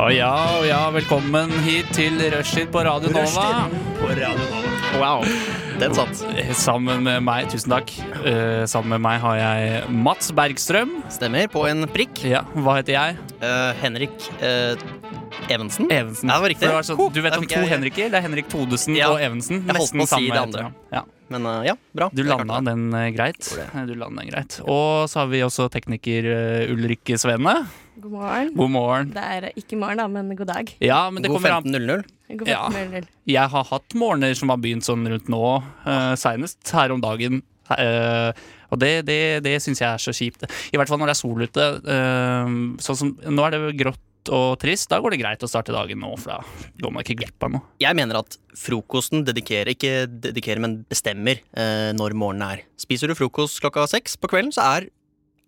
Og ja, og ja, velkommen hit til Rushtid på Radio Nova. Wow. Den satt. Sammen med meg, tusen takk. Eh, sammen med meg har jeg Mats Bergstrøm. Stemmer på en prikk. Ja, hva heter jeg? Eh, Henrik eh, Evensen. Evensen. Ja, det var riktig. For sånn, Huh, du vet der om fikk to jeg- Henriker. Det er Henrik Todesen Ja, og Evensen. jeg holdt Nesten på å si samme det andre. etternavn. Ja. Men eh, ja, bra. Du Jeg landa klarte det. den eh, greit. Gjorde Du landa den greit. Og så har vi også tekniker eh, Ulrikke Svenne. God morgen. God morgen. Det er ikke morgen, da, men god dag. Ja, men det God kommer an 15.00. God Ja. morgen. Jeg har hatt morgener som har begynt sånn rundt nå, uh, seinest her om dagen. Eh, og det, det, det syns jeg er så kjipt. I hvert fall når det er sol ute. eh, sånn som, nå er det grått og trist. Da går det greit å starte dagen nå, for da går man ikke glipp av noe. Jeg mener at frokosten dedikerer, ikke dedikerer, men bestemmer eh, når morgenen er. Spiser du frokost klokka seks på kvelden, så er,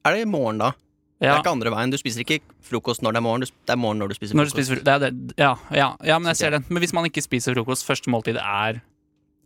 er det morgen da. Det Ja, er ikke andre veien. Du spiser ikke frokost når det er morgen, du sp- det er morgen når du spiser når du frokost. spiser fro- det er det, ja, ja, ja, men jeg ser den. Men hvis man ikke spiser frokost, første måltid er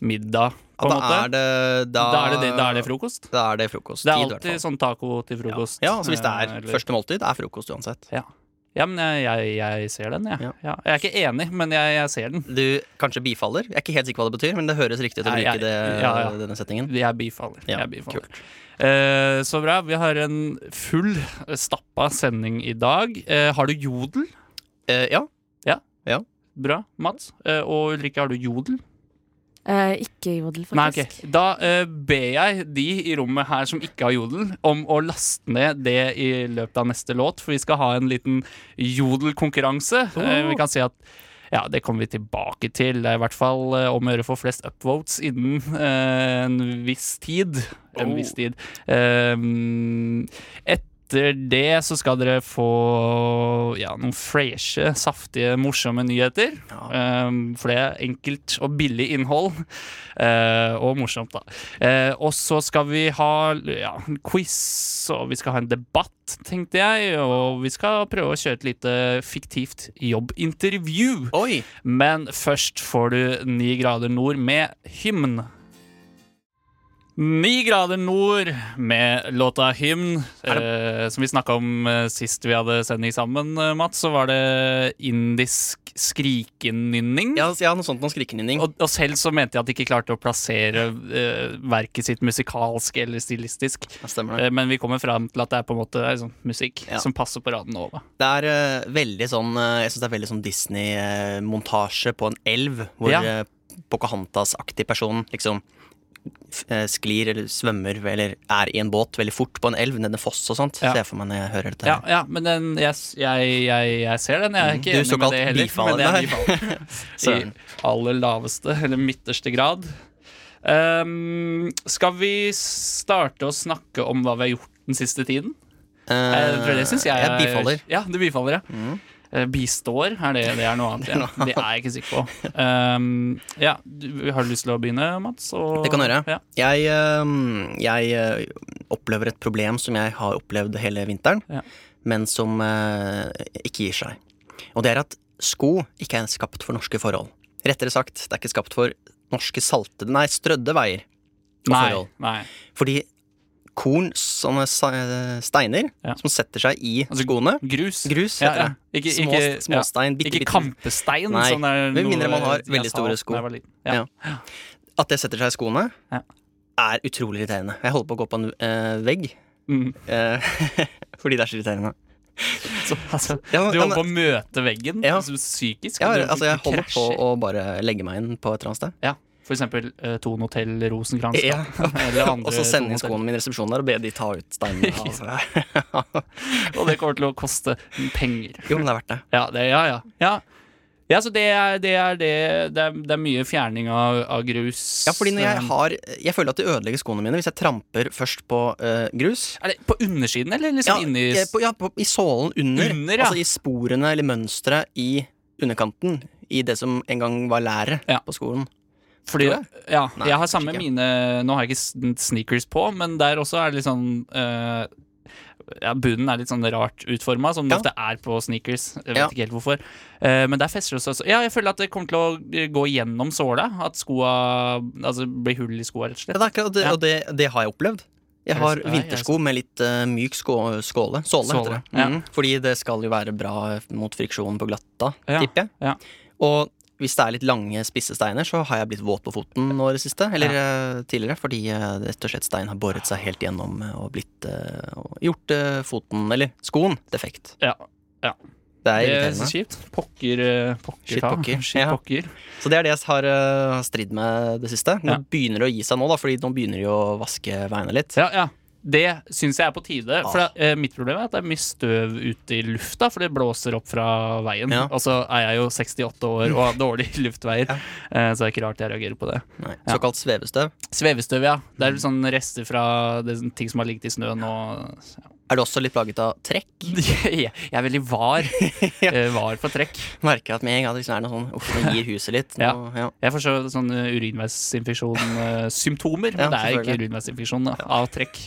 middag, på en At da måte. er det da, Da er det, det, da er det frokost. Da er det frokost. Det er Tid, i hvert alltid fall. sånn taco til frokost. Ja, altså hvis det er eh, eller- første måltid, det er frokost uansett. Ja, men jeg, jeg, jeg ser den, jeg. Ja. Ja. Jeg er ikke enig, men jeg, jeg ser den. Du kanskje bifaller? Jeg er ikke helt sikker på hva det betyr, men det høres riktig ut å Nei, jeg- bruke det, ja, ja. denne setningen. Jeg bifaller. Ja, jeg bifaller. Eh, så bra. Vi har en full, eh, stappa sending i dag. Eh, har du jodel? Eh, ja. Bra, Mats. Eh, og Ulrikke, har du jodel? Eh, ikke jodel, faktisk. Nei, ok. Da eh, ber jeg de i rommet her som ikke har jodel, om å laste ned det i løpet av neste låt, for vi skal ha en liten jodelkonkurranse. Eh, vi kan si at ja, det kommer vi tilbake til. Det er i hvert fall eh, om å gjøre å få flest upvotes innen eh, en viss tid. En Oh. viss tid. Ehm, etter det så skal dere få ja, noen freshe, saftige, morsomme nyheter. Ehm, for det er enkelt og billig innhold. Eh, og morsomt, da. Eh, og så skal vi ha ja, en quiz, og vi skal ha en debatt, tenkte jeg. Og vi skal prøve å kjøre et lite fiktivt jobbintervju. Oi! Men først får du Ni grader nord med hymn. Ni grader nord med låta Hymn, eh, som vi snakka om eh, sist vi hadde sending sammen, eh, Mats. Så var det indisk skrikenynning. Ja, ja, noe sånt noe skrikenynning. Og, og selv så mente jeg at de ikke klarte å plassere eh, verket sitt musikalsk eller stilistisk. Ja, stemmer det. Eh, men vi kommer fram til at det er på en måte det er sånn musikk Ja. som passer på raden over. Det er eh, veldig sånn eh, Jeg syns det er veldig sånn Disney-montasje på en elv, hvor Ja. eh, Pocahontas-aktig person liksom f- eh, sklir eller svømmer eller er i en båt veldig fort på en elv ned en foss og sånt. Ja. Ser jeg for meg når jeg hører dette. Ja, her. ja men den, jeg, s- jeg, jeg, jeg ser den. Jeg er ikke Du enig med såkalt det heller. bifaller men jeg der. bifaller. Søren. I aller laveste, eller midterste grad. Ehm, skal vi starte å snakke om hva vi har gjort den siste tiden? Jeg tror Eh, det synes jeg Eh, jeg bifaller. Mm. Ja, du bifaller, ja. Eh, Bistår, er det, det er noe annet. Ja. Det er jeg ikke sikker på. Um, ja, du, har du lyst til å begynne, Mats? Og, Det kan du gjøre. Ja. Jeg, eh, jeg eh, opplever et problem som jeg har opplevd hele vinteren, Ja. men som eh, ikke gir seg. Og det er at sko ikke er skapt for norske forhold. Rettere sagt, det er ikke skapt for norske saltede, nei, strødde veier. og Nei, forhold. nei. Fordi korn, sånne sa- eh, steiner, Ja. som setter seg i Altså, skoene Grus. Grus, Ja, heter ja. det. Ikke, Små, ikke, ja. småstein, bitte, Ikke bitte kampestein. Nei, sånn er med noe mindre man har jeg veldig sa store da sko. jeg var liten. Ja. Ja. At det setter seg i skoene, Ja. er utrolig irriterende. Jeg holder på å gå på en eh, vegg Mm. eh, fordi det er så irriterende. Så, altså, Ja, men- du holder men- på å møte veggen Ja. så psykisk. Ja, og du altså jeg holder på krasjer. å bare legge meg inn på et eller annet sted. ja. For eksempel uh, Tone Hotell Rosenkrantz. Ja. Eller andre Og så sende Tone Hotel. inn skoene mine i resepsjonen der og be de ta ut steinene. Altså. Og det kommer til å koste penger. jo, men det er verdt det. Ja, det, ja, ja. ja. Ja, så det er det er, det, det er, det er mye fjerning av, av grus. Um, Ja, fordi når jeg har Jeg føler at det ødelegger skoene mine hvis jeg tramper først på eh, grus. Er det på undersiden, eller Ja, liksom inni eh, på, ja på, i sålen under. Under, ja. Altså i sporene eller mønsteret i underkanten. I det som en gang var læret Ja. på skolen. Fordi, tror ja, Nei, jeg har samme kanskje ikke. mine Nå har jeg ikke sn- sneakers på, men der også er det litt sånn eh, ja, Bunnen er litt sånn rart utforma, som det Ja. ofte er på sneakers. Jeg vet Ja. ikke helt hvorfor. Eh, men der fester det seg også. Ja, jeg føler at det kommer til å eh, gå gjennom såla. At skoa Altså blir hull i skoa, rett og Ja, slett. det er akkurat, det, Ja. Og det, det har jeg opplevd. Jeg har Nei, jeg- vintersko med litt eh, myk skå skåle. Såle, Såle, heter det. Mm, Fordi det skal jo være bra eh, mot friksjon på glatta, Ja, tipper jeg. ja. Og hvis det er litt lange, spisse steiner, så har jeg blitt våt på foten nå i det siste. Eller eh, tidligere, fordi eh, rett og slett stein har boret seg helt gjennom eh, og blitt eh, og gjort eh, foten, eller skoen, defekt. Ja. Det er Det er så irriterende. kjipt. Pokker, eh, pokker Shit ta. pokker, Shit ja. pokker. Så det er det jeg har eh, stridd med det siste. Nå Ja. begynner det å gi seg nå, da, fordi nå begynner de å vaske veiene litt. Ja, ja. Det syns jeg er på tide. For Ah. det, eh, Mitt problem er at det er mye støv ute i lufta, for det blåser opp fra veien. Ja. Og så er jeg jo 68 år og har dårlige luftveier, eh, så det er ikke rart jeg reagerer på det. Nei, Ja. såkalt svevestøv. Svevestøv, ja. Det er sånn rester fra det, er sånn ting som har ligget i snøen og Er du også litt plaget av trekk? Jeg er veldig var. Ja. eh, Var på trekk. Merker at med en gang det liksom er noe sånn Uff, det gir huset litt. Nå, ja. Jeg får så sånn urinveisinfeksjon-symptomer, men Ja, det er jo ikke selvfølgelig. urinveisinfeksjon da, av trekk.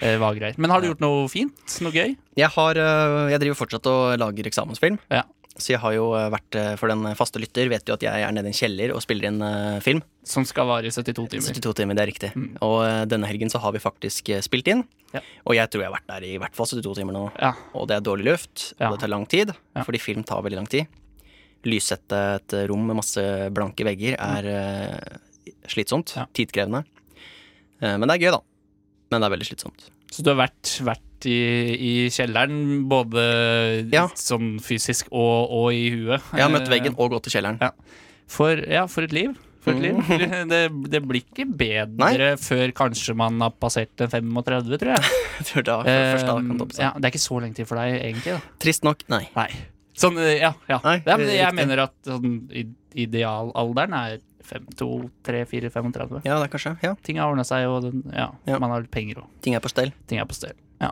Eh, var greier. Men har du gjort noe fint? Noe gøy? Jeg, har, øh, jeg driver fortsatt og lager eksamensfilm. Ja. Så jeg har jo øh, vært øh, For den faste lytter vet jo at jeg er nede i en kjeller og spiller inn øh, film. Som skal vare i 72 timer. Mm. 72 timer, det er riktig. Og øh, denne helgen så har vi faktisk øh, spilt inn. Ja. Og jeg tror jeg har vært der i hvert fall 72 timer nå. Ja. Og det er dårlig luft, Ja. og det tar lang tid, Ja. fordi film tar veldig lang tid. Lyssette et rom med masse blanke vegger er øh, slitsomt. Mm. Ja. Tidkrevende. Eh, Men det er gøy, da. Men det er veldig slitsomt. Så du har vært, vært i, i kjelleren, både Ja. sånn fysisk og, og i huet. Jeg har møtt veggen og gått i kjelleren. Eh, Ja. For, ja, for et liv. For et liv. Det, det blir ikke bedre Nei. før kanskje man har passert den 35, tror jeg. Jeg tror da, først da kan Eh, det oppe seg. ja, det er ikke så lenge til for deg, egentlig. da Trist nok, nei. Nei. Sånn, eh, ja. ja. Nei, ja men eh, jeg riktig. mener at sånn, i- idealalderen er 5, 2, 3, 4, 35. Ja, det er kanskje. Ja, Ting har ordna seg, og den, ja, Ja. man har litt penger og Ting er på stell. ting er på stell. Ja.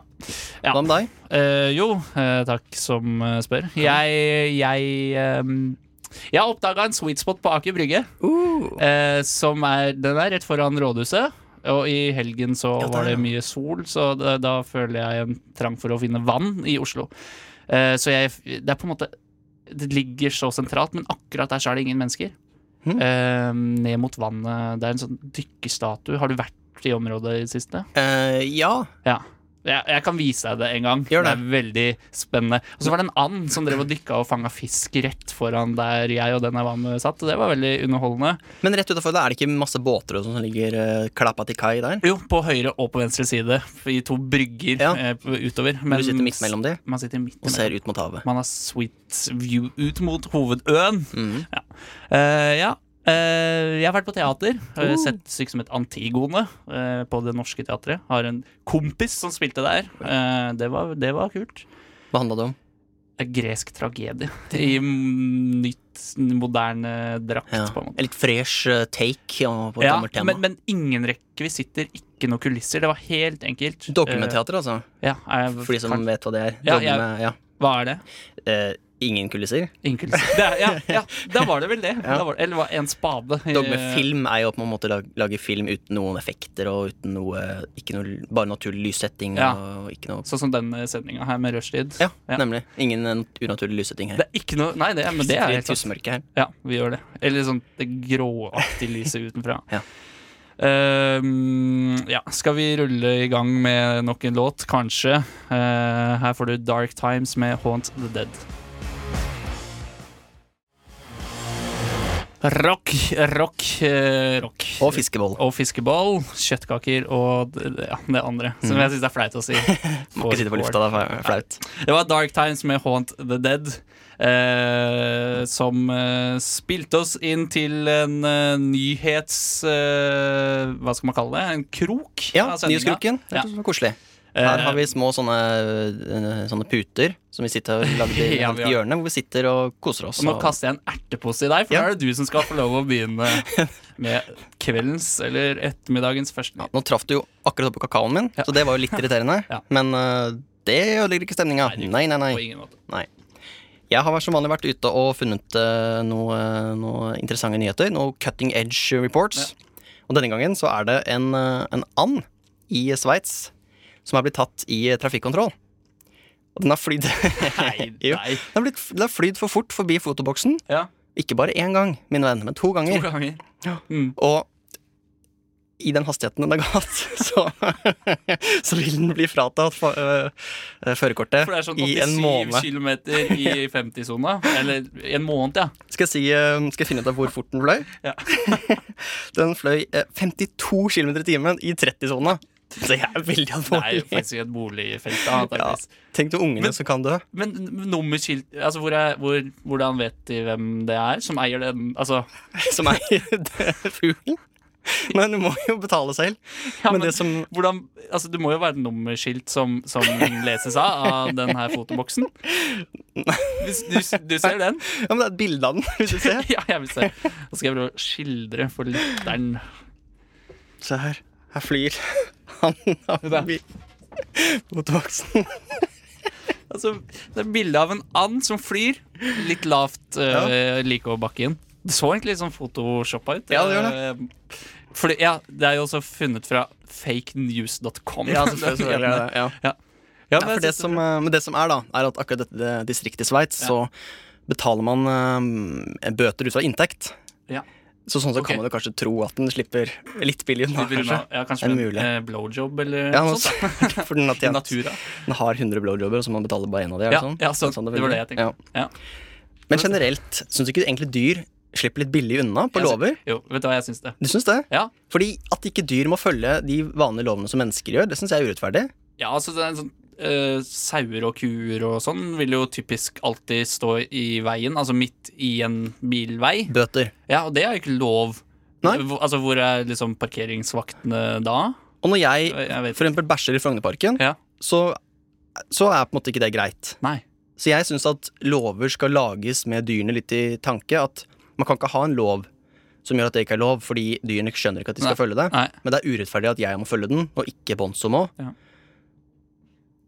Ja. Hva med deg? Eh, jo, eh, takk som eh, spør. Jeg, jeg ehm, jeg har oppdaga en sweet spot på Aker Brygge. eh, som er, den er rett foran rådhuset. Og i helgen så Ja, der, var det ja. mye sol, så da, da føler jeg en trang for å finne vann i Oslo. Eh, så jeg Det er på en måte Det ligger så sentralt, men akkurat der så er det ingen mennesker. Mhm. Eh, ned mot vannet. Det er en sånn dykkerstatue. Har du vært i området i det siste? Eh, ja. Ja. Jeg, jeg kan vise deg det en gang. Gjør det. er veldig spennende. Og så var det en and som drev og dykka og fanga fisk rett foran der jeg og den jeg var med, satt. Og det var veldig underholdende. Men rett utafor er det ikke masse båter og sånn som ligger eh, klappa til kai der? Jo, på høyre og på venstre side, i to brygger Ja. eh, på- utover. Men du sitter midt mellom de Man sitter midt og imellom. ser ut mot havet. Man har sweet view ut mot hovedøen. Mm. Eh, ja. Eh, jeg har vært på teater. Har Uh. Sett stykk som het Antigone eh, på Det Norske Teatret. Har en kompis som spilte der. Eh, det, var, det var kult. Hva handla det om? en gresk tragedie i m- nytt, moderne drakt, Ja. på en måte. En litt fresh eh, take ja, på et Ja, gammelt tema. men, men ingen rekvisitter, ikke noe kulisser. Det var helt enkelt. Dogmeteater, altså. Eh, ja, jeg, For de som kan, vet hva det er. Ja, Dogme, ja, jeg- hva er det? Eh, ingen kulisser. Ingen kulisser. Det, er- ja, ja, da var det vel det. Ja. Da var, det- eller var det en spade. eh, Dogmefilm er jo at man måtte lage, lage film uten noen effekter og uten noe ikke noe, Bare naturlig lyssetting Ja. og ikke noe Sånn som denne sendinga her med rushtid. ja, Ja. nemlig. Ingen eh, unaturlig lyssetting her. Det er ikke noe Nei, det, men det er Sitter i helt sant. tusenmørket her. Ja, vi gjør det. Eller sånn det gråaktige lyset utenfra. Ja. Ehm, ja, skal vi rulle i gang med nok en låt, kanskje? Eh, her får du Dark Times med Haunt the Dead. Rock, rock, eh, rock. Og fiskeboll. Og fiskeball, kjøttkaker og d- d- ja, det andre. Som jeg syns det er flaut å si. Mm. Må ikke sitte på lufta, det er flaut. Det var Dark Times med Haunt the Dead. Eh, som eh, spilte oss inn til en eh, nyhets... Eh, hva skal man kalle det? En krok? Ja, av sendinga. Nyhetskroken. Det Ja. Eh, er så Koselig. Her har vi små sånne, øh, sånne puter som vi sitter og lagde i Ja, vi har. hjørnet, hvor vi sitter og koser oss. Og nå og- kaster jeg en ertepose i deg, for Ja. nå er det du som skal få lov å begynne med kveldens eller ettermiddagens første nyhet. Nå traff du jo akkurat oppå kakaoen min, Ja. så det var jo litt irriterende. Ja. Men øh, det ødelegger ikke stemninga. Nei, det- Nei, nei, På nei. ingen måte. Jeg har som vanlig vært ute og funnet øh, noe, noe interessante nyheter. Noe cutting edge reports. Og denne gangen så er det en, øh, en and i Sveits som er blitt tatt i trafikkontroll. Og den har flydd Nei, Jo. nei. Den har blitt- den har flydd for fort forbi fotoboksen. Ja, Ikke bare én gang, min venn, men to to ganger. ganger. Og i den hastigheten den har gått, så, så vil den bli fratatt fa- øh, øh, førerkortet For det er sånn i en 87 måned. km i 50-sona. Eller i en måned, ja. Skal jeg, si, øh, skal jeg finne ut av hvor fort den fløy? Ja. den fløy eh, 52 km i timen i 30-sona. Det er veldig Det er jo alvorlig. faktisk i et boligfelt. Da, Ja. antageligvis. Tenk til ungene Men- som kan dø. Men n- nummerskilt altså hvor er, hvor, Hvordan vet de hvem det er som eier den? Altså, som eier det- fuglen. Men du må jo betale selv. ja, men, men det som hvordan, altså, det må jo være et nummerskilt som, som leses av av den her fotoboksen. Hvis du, s- du ser den? Ja, men det er et bilde av den, hvis du ser. Ja, jeg vil se. Da skal jeg prøve å skildre for lytteren. Se her. Her flyr han da. av bil- mot voksen. Altså, det er et bilde av en and som flyr litt lavt eh, like over bakken. Det så egentlig litt sånn photoshoppa ut. Ja, det det. Fordi, ja, det er jo også funnet fra fakenews.com. det. Ja. Ja, Ja, men for jeg det synes- som, eh, men det som er, da, er at akkurat dette det- distriktet i Sveits, så betaler man eh, bøter ut fra inntekt. Ja. Så sånn så Ok. kan man jo kanskje tro at den slipper litt billig unna, Litt billig kanskje. unna. Ja, kanskje Det er med en, mulig. eh, blowjob eller Ja, noe men sånt. da. så- for den sånn. har I tjent natura. Den har 100 blowjobber, og så må man betale bare én av dem? Ja, ja, sånn. Det var det jeg tenkte. Ja. Men generelt, syns du ikke egentlig dyr slipper litt billig unna på Jeg sy- lover? Jo, vet du hva jeg syns det? Du syns det? Ja. Fordi at ikke dyr må følge de vanlige lovene som mennesker gjør, det syns jeg er urettferdig. ja, altså det er en sånn eh, Sauer og kuer og sånn vil jo typisk alltid stå i veien, altså midt i en bilvei. Bøter. Ja, og det er jo ikke lov. Nei. Hvor, altså, hvor er liksom parkeringsvaktene da? Og når jeg Jeg vet for eksempel bæsjer i Frognerparken, Ja. så, så er på en måte ikke det greit. Nei. Så jeg syns at lover skal lages med dyrene litt i tanke. At man kan ikke ha en lov som gjør at det ikke er lov, fordi dyrene skjønner ikke at de skal følge det. Nei. Men det er urettferdig at jeg må følge den, og ikke Bonzo må.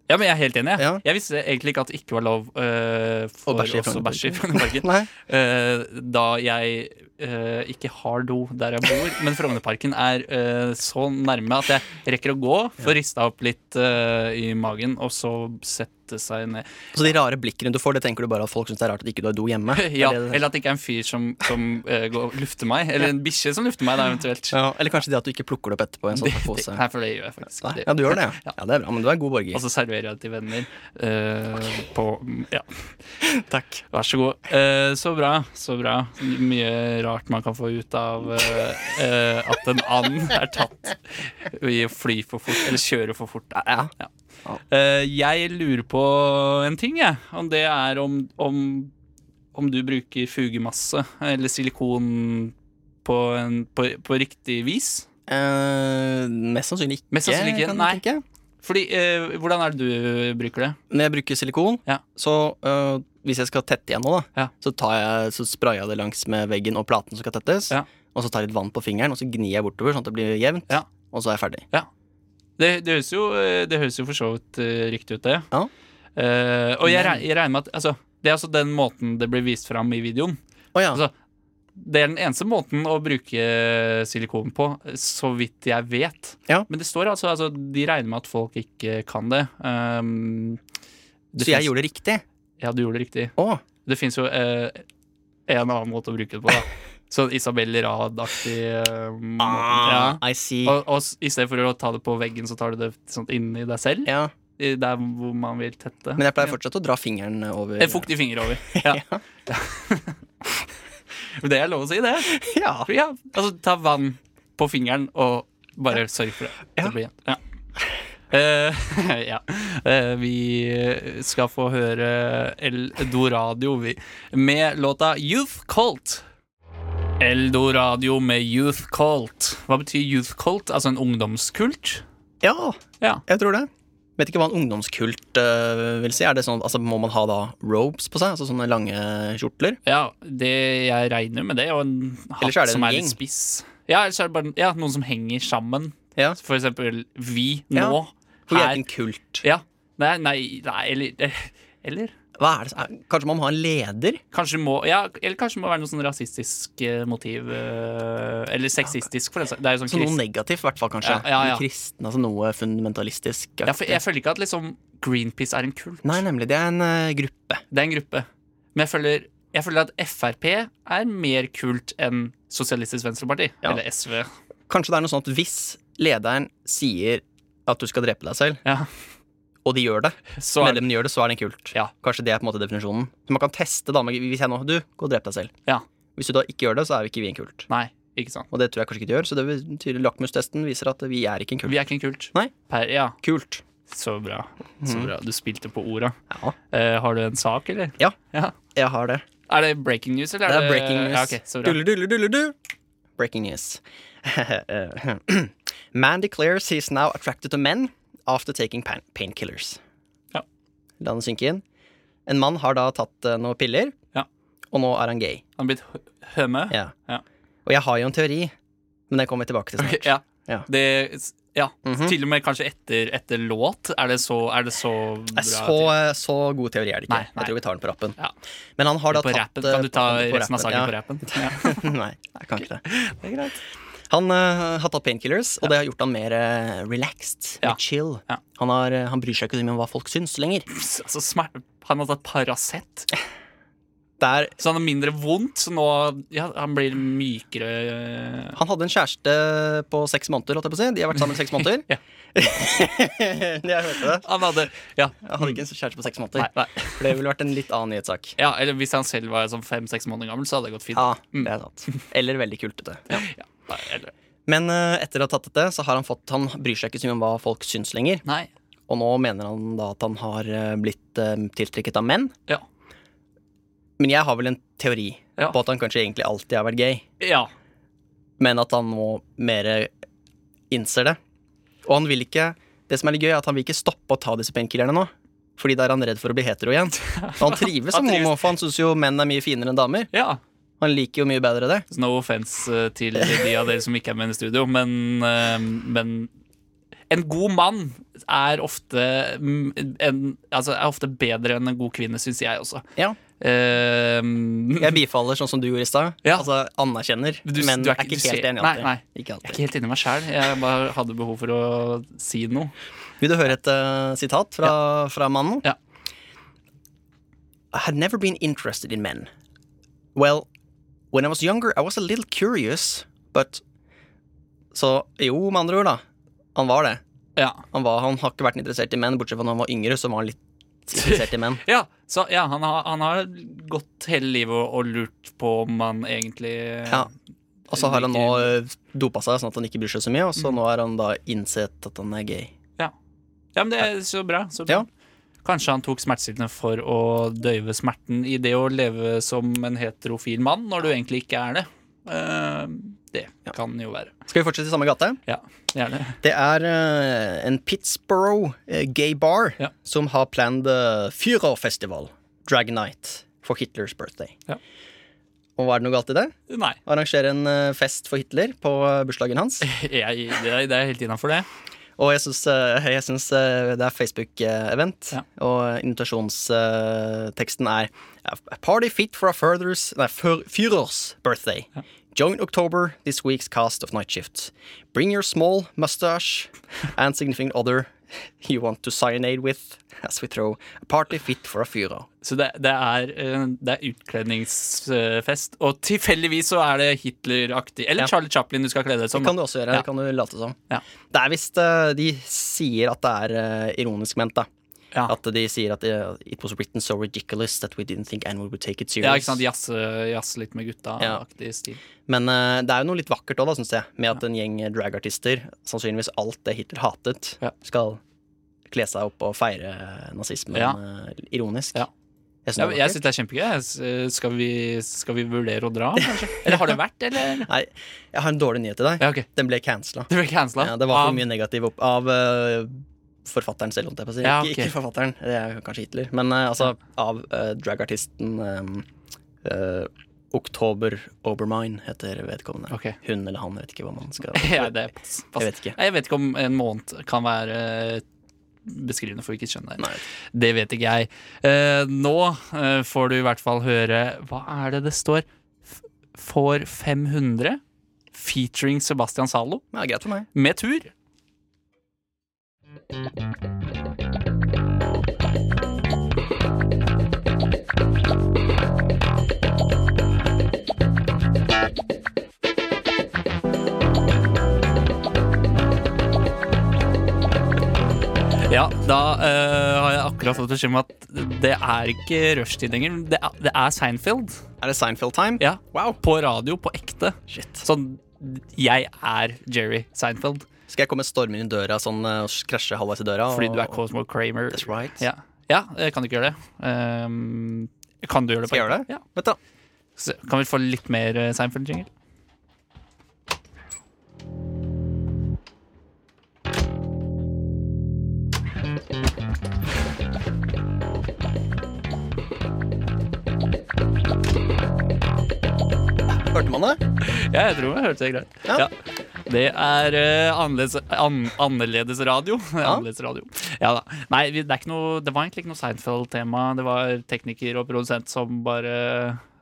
Ja, men jeg er helt enig. jeg. Ja. Jeg visste egentlig ikke at det ikke var lov eh, for bæsje i oss å bæsje i Frognerparken. Nei. Eh, da jeg eh, ikke har do der jeg bor, men Frognerparken er eh, så nærme at jeg rekker å gå, få rista opp litt eh, i magen, og så sette seg ned. Så de rare blikkene du får, det tenker du bare at folk syns det er rart at ikke du har do hjemme. Ja, Er det det? eller at det ikke er en fyr som, som eh, går og lufter meg, eller en bikkje som lufter meg, da eventuelt. ja, eller kanskje det at du ikke plukker det opp etterpå i en Det, sånn det, pose. nei, for det Altså, gjør jeg faktisk Nei, ikke. Ja, du gjør det, ja. ja. Det er bra, men du er en god Og borger. så serverer jeg det til venner eh, på Ja, Takk. vær så god. Eh, så bra, så bra. Mye rart man kan få ut av eh, eh, at en and er tatt i å fly for fort, eller kjøre for fort. Ja. Eh, jeg lurer på en ting, jeg. Om det er om, om, om du bruker fugemasse eller silikon på, en, på, på riktig vis. Eh, mest sannsynlig ikke. Mest sannsynlig ikke, kan jeg nei. tenke. Fordi, eh, hvordan er det du bruker det? Når jeg bruker silikon, Ja. så eh, hvis jeg skal tette igjen nå, da, Ja. så, tar jeg, så sprayer jeg det langs med veggen og platen som skal tettes. Ja. Og så tar jeg litt vann på fingeren, og så gnir jeg bortover sånn at det blir jevnt. Ja. Og så er jeg ferdig. Det, det, høres jo, eh, det høres jo for så vidt eh, riktig ut, det. Ja. Eh, og jeg, Men- reg- jeg regner med at altså, Det er altså den måten det blir vist fram i videoen. Å ja. Altså, det er den eneste måten å bruke eh, silikon på, så vidt jeg vet. Ja. Men det står altså, altså De regner med at folk ikke kan det. Um, det så jeg finnes- gjorde det riktig. Ja, du gjorde det riktig. Å, Det fins jo eh, en annen måte å bruke det på. da Sånn Isabel Rad-aktig eh, måte. ja. Ah, I see. Og, og s- i stedet for å ta det på veggen, så tar du det sånn inni deg selv. Ja. I- Der hvor man vil tette. Men jeg pleier fortsatt å dra fingeren over En fuktig finger over. Ja. Ja. Men det er lov å si, det. Ja. Ja, altså ta vann på fingeren og bare sørg for det. Ja. Det blir jevnt. Ja. Eh, ja. Eh, vi skal få høre Eldoradio vi, med låta Youth Cult. Eldoradio med Youth Cult. Hva betyr Youth Cult? Altså en ungdomskult? Ja, Ja. jeg tror det. Vet ikke hva en ungdomskult eh, vil si. Er det sånn, altså Må man ha da robes på seg? Altså sånne lange kjortler? Ja, det jeg regner med det, og en hatt Ellers er det som en er gjeng. litt spiss. Ja, ellers er det bare ja, noen som henger sammen. Ja. For eksempel vi Ja, nå. For vi er her. ikke en kult. Ja. Nei, nei, nei eller, eh, eller Hva er det? som er- Kanskje man må ha en leder? Kanskje må ja, Eller kanskje må være noe sånn rasistisk eh, motiv. eh, Eller sexistisk, for den saks Det er jo sånn Så noe krist... negativt, i hvert fall, kanskje. Ja, ja, ja. En Kristen, altså noe fundamentalistisk. Ja, for jeg føler ikke at liksom Greenpeace er en kult. Nei, nemlig. Det er en eh, gruppe. Det er en gruppe. Men jeg føler, jeg føler at Frp er mer kult enn Sosialistisk Venstreparti. Ja. Eller SV. Kanskje det er noe sånn at hvis lederen sier at du skal drepe deg selv, Ja. og de gjør det, Så er det medlemmene gjør det, så er det kult. Ja. Kanskje det er på en måte definisjonen. Så man kan teste da, med- hvis jeg nå Du, gå og drep deg selv. Ja. Hvis du da ikke gjør det, så er vi ikke vi en kult. Nei, ikke sant. Og det tror jeg kanskje ikke du gjør, så det betyr lakmustesten viser at vi er ikke en kult. Vi er ikke en kult. Nei. Per, ja, Kult. så bra. Så Mhm. bra. Du spilte på orda. Ja. Eh, har du en sak, eller? Ja. Jeg har det. Er det breaking news, eller? Det er breaking news. Ja, ok, så bra. Dulle, dulle, dulle, du. Breaking news. Man declares he's now attracted to men after taking pan- painkillers. Ja. La den synke inn. En mann har da tatt eh, noen piller, Ja. og nå er han gay. Han har blitt hø- høme. Ja. Ja. Og jeg har jo en teori, men den kommer jeg tilbake til snart. Ok, ja. Ja. Det, ja. Mhm. Til og med kanskje etter, etter låt. Er det så, er det så bra? Nei, Eh, Så, til- så god teori er det ikke. Nei, nei. Jeg tror vi tar den på rappen. Ja. Men han har da på tatt rappen. Kan eh, du ta på- på resten av saken på rappen? Ja. rappen? nei, jeg kan ikke det. Han eh, har tatt painkillers, og det har gjort han mer eh, relaxed. Ja. Mer chill. Ja. Han, har, eh, han bryr seg ikke så mye om hva folk syns lenger. Altså, smer- han har tatt Paracet, Det er, så han har mindre vondt. Så nå ja, han blir mykere. han hadde en kjæreste på seks måneder, holdt jeg på å si. De har vært sammen i seks måneder. Ja. jeg hørte det. Han hadde Ja. Jeg hadde ikke en kjæreste på seks måneder. Nei, nei. For det ville vært en litt annen nyhetssak. ja, eller hvis han selv var sånn fem-seks måneder gammel, så hadde det gått fint. Ja, det er sant. Eller veldig kultete. Mm. Ja, nei, eller, Men eh, etter å ha tatt dette, så har han fått Han bryr seg ikke så mye om hva folk syns lenger. nei. Og nå mener han da at han har eh, blitt eh, tiltrekket av menn. Ja. Men jeg har vel en teori Ja. på at han kanskje egentlig alltid har vært gay, ja. men at han nå mer eh, innser det. Og han vil ikke Det som er litt gøy, er at han vil ikke stoppe å ta disse painkillerne nå. Fordi da er han redd for å bli hetero igjen. Og han trives som Han trives. homo, for han syns jo menn er mye finere enn damer. ja. Han liker jo mye bedre det. Så no offense eh, til de av dere som ikke er med i studio, men, eh, men en god mann er ofte, mm, en, altså er ofte bedre enn en god kvinne, syns jeg også. Ja. Eh, Jeg bifaller sånn som du gjorde i stad. Ja. Altså anerkjenner, Du- men du er er ikke- ikke du helt ser- enig Nei, nei. alltid. Ikke jeg er alltid. ikke helt inni meg sjæl. Jeg bare hadde behov for å si noe. Vil du høre et eh, sitat fra, fra mannen? Ja. I had never been interested in men. Well, when I was younger, I was a little curious, but Så jo, med andre ord, da. Han var det. Ja. Han, var, han har ikke vært interessert i menn, bortsett fra når han var yngre, så var han litt interessert i menn. Ja, så, ja han, har, han har gått hele livet og, og lurt på om han egentlig Ja. Og så har han nå eh, dopa seg sånn at han ikke bryr seg så mye, og så nå har han da innsett at han er gay. Ja, men det er så bra. Så bra. Ja. Kanskje han tok smertestillende for å døyve smerten i det å leve som en heterofil mann, når du egentlig ikke er det. Eh, det kan jo være. Skal vi fortsette i samme gate? Ja, gjerne. Det er eh, en Pittsborough eh, gay bar Ja. som har planned uh, Führerfestival, Drag Night, for Hitlers birthday. Ja. Og hva er det noe galt i det? Nei, Arrangere en eh, fest for Hitler på eh, bursdagen hans. jeg, det, er, det er helt innafor, det. Og jeg syns, eh, jeg syns eh, det er Facebook-event, Ja. og invitasjonsteksten er eh, Party fit for a furthers, nei, Führ- Führers birthday. Join October, this week's cast of Night Shift. Bring your small mustache and significant other you want to cyanide with as we throw a party fit for a Führer. Så det, det, er, eh, det er utkledningsfest. Og tilfeldigvis så er det Hitler-aktig. Eller Ja. Charlie Chaplin du skal kle deg som. Det da. kan du også gjøre. Mm. Ja. Det kan du late som. Ja. Det er visst eh, De sier at det er eh, ironisk ment, da. Ja. At de sier at eh, it was written so ridiculous that we didn't think anyone would take it serious. Ja, ikke sant? Jazze, jazze litt med Ja. gutta-aktig stil. Men eh, det er jo noe litt vakkert òg, syns jeg, med at en gjeng eh, dragartister, sannsynligvis alt det Hitler hatet, Ja. skal kle seg opp og feire nazismen Ja. eh, ironisk. Ja. Ja, Jeg synes det jeg er vakkert. syns det er kjempegøy. Jeg s- Skal vi, skal vi vurdere å dra, kanskje? Eller har det vært, eller? Nei, jeg har en dårlig nyhet til deg. Ja, ok. Den ble cancela. Det ble Ah, cancela. Ja, det var for mye negativ opp av eh, forfatteren selv, holdt jeg på å si. Ja, ikke, ok. ikke forfatteren, det er kanskje Hitler, men eh, altså av eh, dragartisten eh, eh, Oktober Obermine heter vedkommende. Ok. Hun eller han, jeg vet ikke hva man skal Ja, det pass, pass. Jeg vet ikke. Nei, Jeg vet ikke om en måned kan være eh, beskrivende for hvilket kjønn det Nei. er. Det vet ikke jeg. Eh, nå eh, får du i hvert fall høre Hva er det det står? F- For 500? Featuring Sebastian Zalo Men det er greit for meg. med tur. Ja, da eh, har jeg akkurat fått beskjed om at det er ikke rushtid lenger. Det er, det er Seinfeld. Er det Seinfeld-time? Ja. Wow. På radio, på ekte. Shit. Sånn Jeg er Jerry Seinfeld. Skal jeg komme stormende inn i døra sånn, eh, og krasje halvveis i døra? Fordi du er og- Cosmo Kramer. That's right. Ja. ja, jeg kan ikke gjøre det. Ehm, kan du gjøre det? på Skal jeg gjøre det? ekte? Ja. Vent, da. Så Kan vi få litt mer eh, Seinfeld-jingle? Hørte man det? Ja, jeg tror jeg hørte det greit. Ja. Ja. Det er eh, annerledes, an, annerledes radio. annerledes radio. Ja da. Nei, vi, det, er ikke noe, det var egentlig ikke noe Seinfeld-tema. Det var tekniker og produsent som bare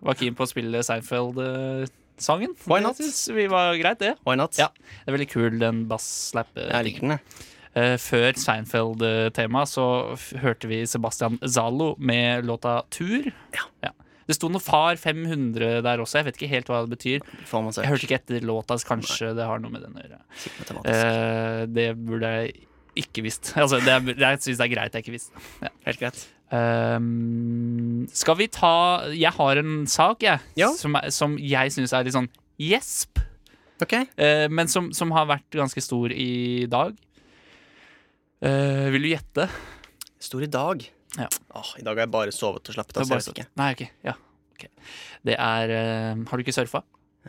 var keen på å spille Seinfeld-sangen. Why not? Det synes vi var greit, det. Why not? Ja. Det er veldig kul, den bass-slappe. Jeg liker den, jeg. Eh, før Seinfeld-temaet så f hørte vi Sebastian Zalo med låta 'Tur'. Ja. Det sto noe Far 500 der også. Jeg vet ikke helt hva det betyr. Får man seg Jeg hørte ikke etter låta, så kanskje det har noe med den å gjøre. sikkert matematisk. Eh, det burde jeg ikke visst. Altså, det er, jeg syns det er greit jeg ikke visste. Ja. Helt greit. Ehm, skal vi ta Jeg har en sak, jeg, Ja. som, er, som jeg syns er litt sånn gjesp, Ok. eh, men som, som har vært ganske stor i dag. Eh, vil du gjette? Stor i dag. Ja. Åh, I dag har jeg bare sovet og slappet av. så jeg vet ikke. Nei, ok. Ja. ok. Det er eh, Har du ikke surfa?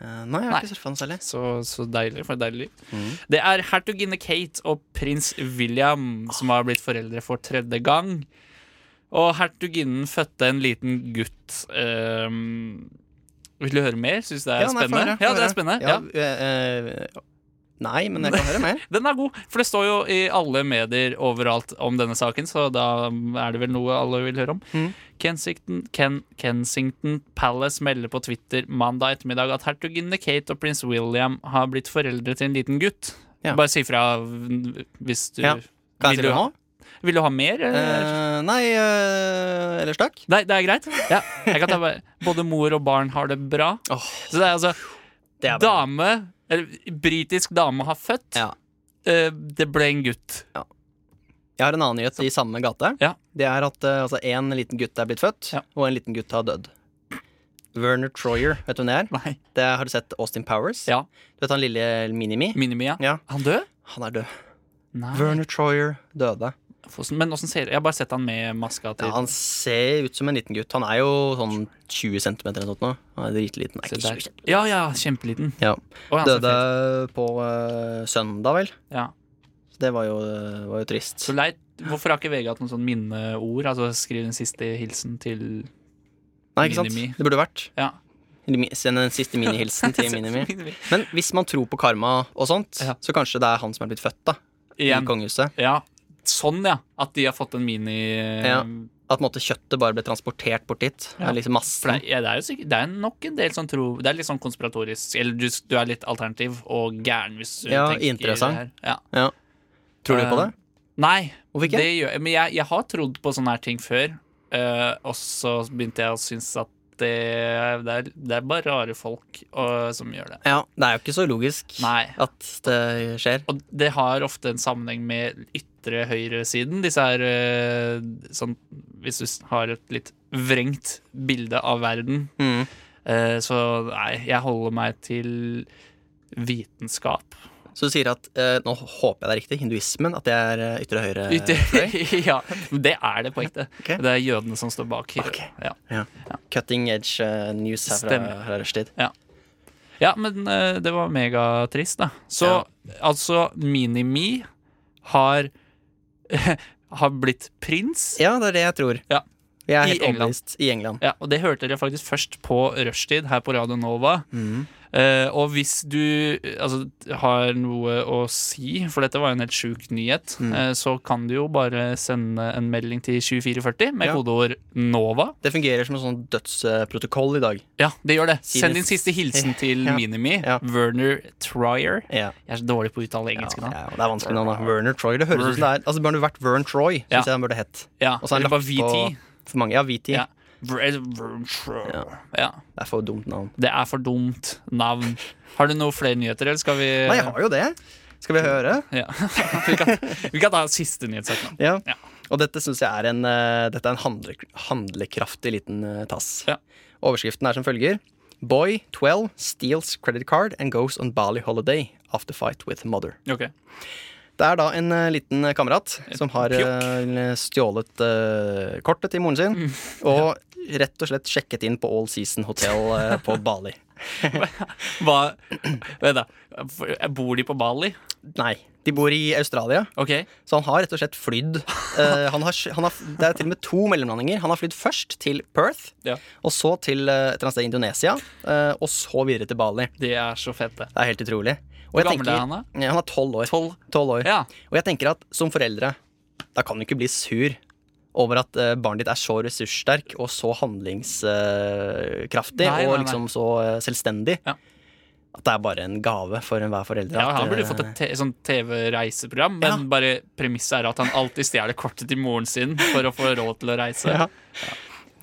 Eh, nei, jeg har ikke surfa noe særlig. Så, så deilig for et deilig liv. Mhm. Mm. Det er hertuginne Kate og prins William som har blitt foreldre for tredje gang. Og hertuginnen fødte en liten gutt. Ehm, vil du høre mer? Syns du det er Ja, nei, få spennende? høre, ja, få det høre. er spennende. Ja, Ja. eh, eh, nei, men jeg kan høre mer. Den er god, for det står jo i alle medier overalt om denne saken, så da er det vel noe alle vil høre om. Mhm. Kensington, Ken, Kensington Palace melder på Twitter mandag ettermiddag at hertuginne Kate og prins William har blitt foreldre til en liten gutt. Ja. Bare si fra hvis du Ja. Vil Kan jeg si det du nå? Vil du ha mer? eller? Eh, nei, eh, ellers takk. Nei, det er greit. Ja, jeg kan ta bare. Både mor og barn har det bra. Åh, Så det er altså det er bra. dame eller, Britisk dame har født. Ja. Eh, det ble en gutt. Jeg har en annen nyhet i samme gate. Ja. Det er at eh, altså, en liten gutt er blitt født, Ja. og en liten gutt har dødd. Werner Troyer, vet du hvem det er? Nei. Det er- Har du sett Austin Powers? Ja. Du vet han lille Minimi? Minimia. Ja. Han død? Han er død. Nei. Werner Troyer døde. Hvordan- Men åssen ser Jeg har bare sett han med maska til Ja, han ser ut som en liten gutt. Han er jo sånn 20 cm eller noe sånt nå. Han er dritliten. Er Se ikke der. 20 centimeter. Ja, ja, kjempeliten. Ja. Å, han ser Døde fet. på eh, søndag, vel. Ja. Så det var jo, eh, var jo trist. Så leit. Hvorfor har ikke VG hatt noen sånn minneord? Altså skriv en siste hilsen til Nei, ikke sant? Minimi. Det burde vært. Ja. Eller mi- Send en siste minihilsen til Minimi. Men hvis man tror på karma og sånt, Ja. så kanskje det er han som er blitt født, da. I Igjen. kongehuset. Ja. Sånn, ja. At de har fått en mini... Ja. At på en måte, kjøttet bare ble transportert bort dit. Ja. Er Liksom For det, massen. er- ja, det er jo sikkert Det er nok en del som tror Det er litt sånn konspiratorisk Eller du, du er litt alternativ og gæren hvis du Ja, tenker interessant. det her. Ja. Ja. Tror du på Eh. det? Nei, Hvorfor ikke? det gjør jeg Men jeg, jeg har trodd på sånne her ting før eh, Og så begynte jeg å synes at det, det, er, det er bare rare folk eh, som gjør det Ja, det er jo ikke så logisk Nei. at det skjer. Og det har ofte en sammenheng med ytre høyresiden. Disse her eh, sånn, Hvis du s- har et litt vrengt bilde av verden. Mm. eh, Så nei, jeg holder meg til vitenskap. Så du sier at eh, Nå håper jeg det er riktig. Hinduismen. At det er eh, ytre høyre. Ytre, ja, det er det på ekte. Ok. Det er jødene som står bak. Ok. Ja. Cutting edge eh, news her fra, Stemmer. fra rushtid. ja, men eh, det var megatrist, da. Så altså, Minimi har har blitt prins. Ja, det er det jeg tror. Ja. Vi I er helt England. overbevist i England. Ja, og det hørte dere faktisk først på rushtid her på Radio Nova. Mm. Eh, og hvis du eh, altså, har noe å si, for dette var jo en helt sjuk nyhet, Mm. eh, så kan du jo bare sende en melding til 2440 med Ja. kodeord NOVA. Det fungerer som en sånn dødsprotokoll i dag. Ja, det gjør det. Si Send det. din siste hilsen til Ja. Minimi. Ja. Werner Trier. Ja. Jeg er så dårlig på å uttale engelske ja, navn. ja, det er vanskelig navn, da. Werner Troy. Det høres ut som det er Altså, Burde vært Vern Troy, syns Ja. jeg han burde hett. Ja, Og så har eller han bare lagt på VT. for mange. Ja, VT. Ja. Ver- Werner Trier. ja. Det er for dumt navn. Det er for dumt navn. Har du noen flere nyheter, eller skal vi Nei, jeg har jo det. Skal vi høre? Ja. vi, kan, vi kan ta siste nyhetssak nå. Ja. Ja. Og dette syns jeg er en, eh, dette er en handle, handlekraftig liten eh, tass. Ja. Overskriften er som følger. Boy 12 steals credit card and goes on Bali holiday after fight with mother. Ok. Det er da en eh, liten eh, kamerat som har eh, stjålet eh, kortet til moren sin. Mm. Og rett og slett sjekket inn på All Season Hotel eh, på Bali. Hva Vent, da. Bor de på Bali? Nei, de bor i Australia, Ok. så han har rett og slett flydd. eh, han har, sj- han har, f- det er til og med to mellomlandinger. Han har flydd først til Perth, Ja. og så til eh, et eller annet sted i Indonesia, eh, og så videre til Bali. De er så fete. Det er helt utrolig. Og Hvor jeg gammel tenker- er han, da? Ja, han er tolv år. Tolv? 12 år. Ja. Og jeg tenker at som foreldre, da kan du ikke bli sur over at eh, barnet ditt er så ressurssterk og så handlingskraftig Nei, nei, og nei. liksom så eh, selvstendig. Ja. At det er bare en gave for enhver forelder. ja at, han burde eh, fått et te sånn TV-reiseprogram, men Ja. bare premisset er at han alltid stjeler kortet til moren sin for å få råd til å reise. Ja.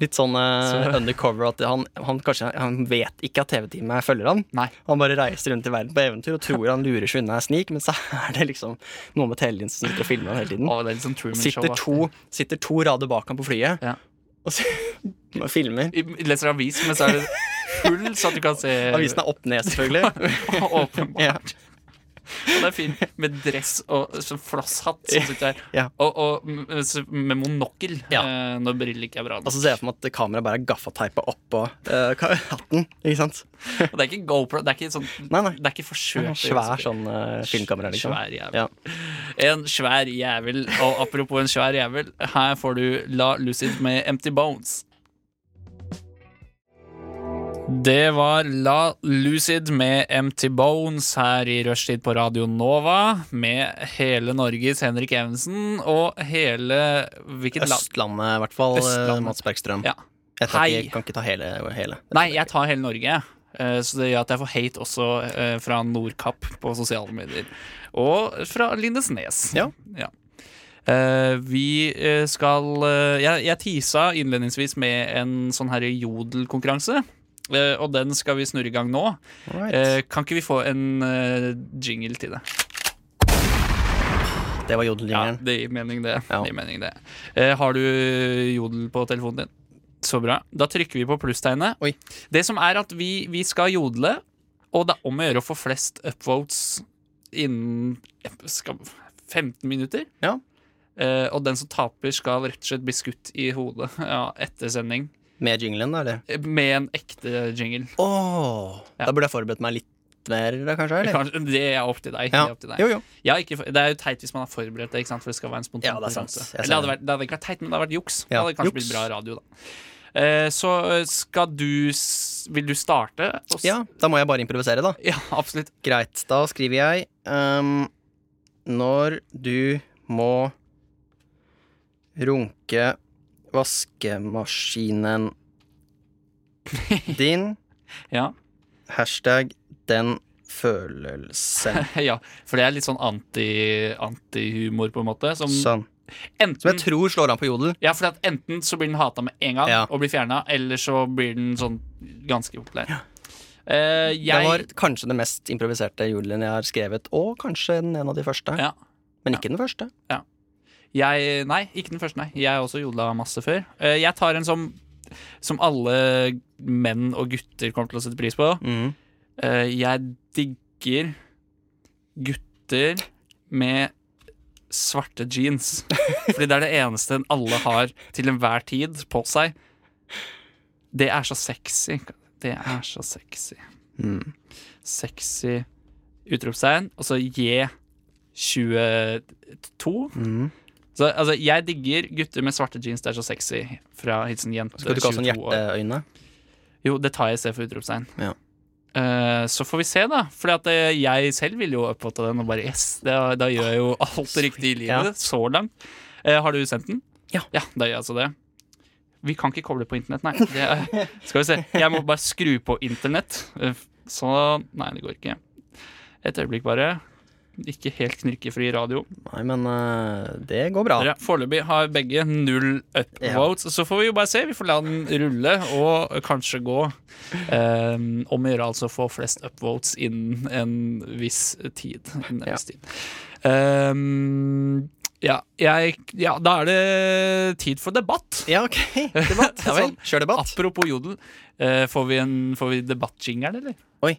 Litt sånn eh, Så- undercover at han, han kanskje han vet ikke at TV-teamet følger han. Nei. Han bare reiser rundt i verden på eventyr og tror han lurer seg unna en snik, men så er det liksom noen med telelinsen som sitter og filmer han hele tiden. Å, det er litt sånn Truman Show. Sitter ass. to, sitter to rader bak ham på flyet Ja. og så- og filmer. I- Leser avis, men så er det full, så at du kan se Avisen er opp ned, selvfølgelig. Åpenbart. ja. Og det er fint med dress og sånn flosshatt som sitter her. Ja. Og, og m- s- med monokkel eh, når briller ikke er bra. nok. Altså ser jeg for meg at kameraet bare er gaffateipa oppå eh, ka- hatten. Ikke sant? Og det er ikke GoPro, det er ikke sånn Nei, nei. Det er ikke forsøkt. å gjøre Svær så- sånn eh, filmkamera, liksom. Svær jævel. Ja. En svær jævel. Og apropos en svær jævel, her får du La Lucid med Empty Bones. Det var La Lucid med Empty Bones her i rushtid på Radio Nova. Med hele Norges Henrik Evensen og hele Hvilket land? Østlandet, i hvert fall. eh, Østlandet. Mats Bergstrøm. Ja. Jeg tar Hei. ikke, kan ikke ta hele. hele. Nei, jeg tar hele Norge. jeg. Eh, Så det gjør at jeg får hate også eh, fra Nordkapp på sosiale medier. Og fra Lindesnes. Ja. Eh, vi eh, skal eh, jeg, jeg tisa innledningsvis med en sånn her jodelkonkurranse. eh, og den skal vi snurre i gang nå. Alright. Eh, kan ikke vi få en eh, jingle til det? det var Ja, jodellinjen. det gir mening, det. Ja. det, gir mening det. Eh, har du jodel på telefonen din? Så bra. Da trykker vi på plusstegnet. Oi. Det som er at vi, vi skal jodle, og det er om å gjøre å få flest upvotes innen eh, skal, 15 minutter. Ja. Eh, og den som taper, skal rett og slett bli skutt i hodet ja, etter sending. Med jinglen, da, eller? Eh, Med en ekte jingle. Åh, Ja. Da burde jeg forberedt meg litt mer, da, kanskje? Eller? Kanskje, det er opp til deg. Det Ja. er opp til deg. Jo, jo. Jeg har ikke, for- det er jo teit hvis man har forberedt det, ikke sant? for det skal være en spontan Ja, det er sant. konkurranse. Jeg ser Eller Det hadde, vært, det hadde ikke vært teit, men det hadde vært juks. Det Ja, hadde kanskje juks. blitt bra radio, da. Eh, så eh, skal du s- Vil du starte? Og s- Ja, da må jeg bare improvisere, da. ja, absolutt. Greit, da skriver jeg ehm, Når du må runke vaskemaskinen din Ja. Hashtag den følelsen ja. For det er litt sånn anti- antihumor, på en måte. Som Sånn. Som jeg enten tror slår an på jodel. ja, for at enten så blir den hata med en gang Ja. og blir fjerna, eller så blir den sånn ganske populær. Eh, jeg Det var kanskje den mest improviserte jodelen jeg har skrevet, og kanskje den en av de første. ja. Men ikke den første. Jeg, nei, ikke den første, nei. Jeg har også jodla masse før. Eh, Jeg tar en som, som alle menn og gutter kommer til å sette pris på. Mhm. Eh, Jeg digger gutter med svarte jeans. Fordi det er det eneste alle har til enhver tid på seg. Det er så sexy. Det er så sexy. Mm. Sexy utropstegn. Og så J22. Mhm. Så, altså, jeg digger gutter med svarte jeans, det er så sexy. Fra hilsen jente Skal du ikke ha sånn 22 år. hjerteøyne? Jo, det tar jeg i stedet for utropstegn. Ja. Eh, så får vi se, da. For jeg selv vil jo oppfatte den og bare yes. Da, da gjør jeg jo alt riktig i livet. Ah, Ja. Så langt. Eh, har du sendt den? Ja. Da gjør jeg altså det. Vi kan ikke koble på internett, nei. Det er, skal vi se. Jeg må bare skru på internett. Eh, Så Nei, det går ikke. Et øyeblikk, bare. Ikke helt knirkefri radio. Nei, men eh, det går bra. Dere foreløpig har begge null upvotes. Så får vi jo bare se. Vi får la den rulle og kanskje gå. Um, om å gjøre altså å få flest upvotes innen en viss tid. Innen en Ja. viss tid. Ehm, ja, jeg, ja, da er det tid for debatt. Ja, ok. Debatt. sånn Ja vel. Kjør debatt. Apropos jodel, eh, får vi, en- får vi debattjingeren, eller? Oi.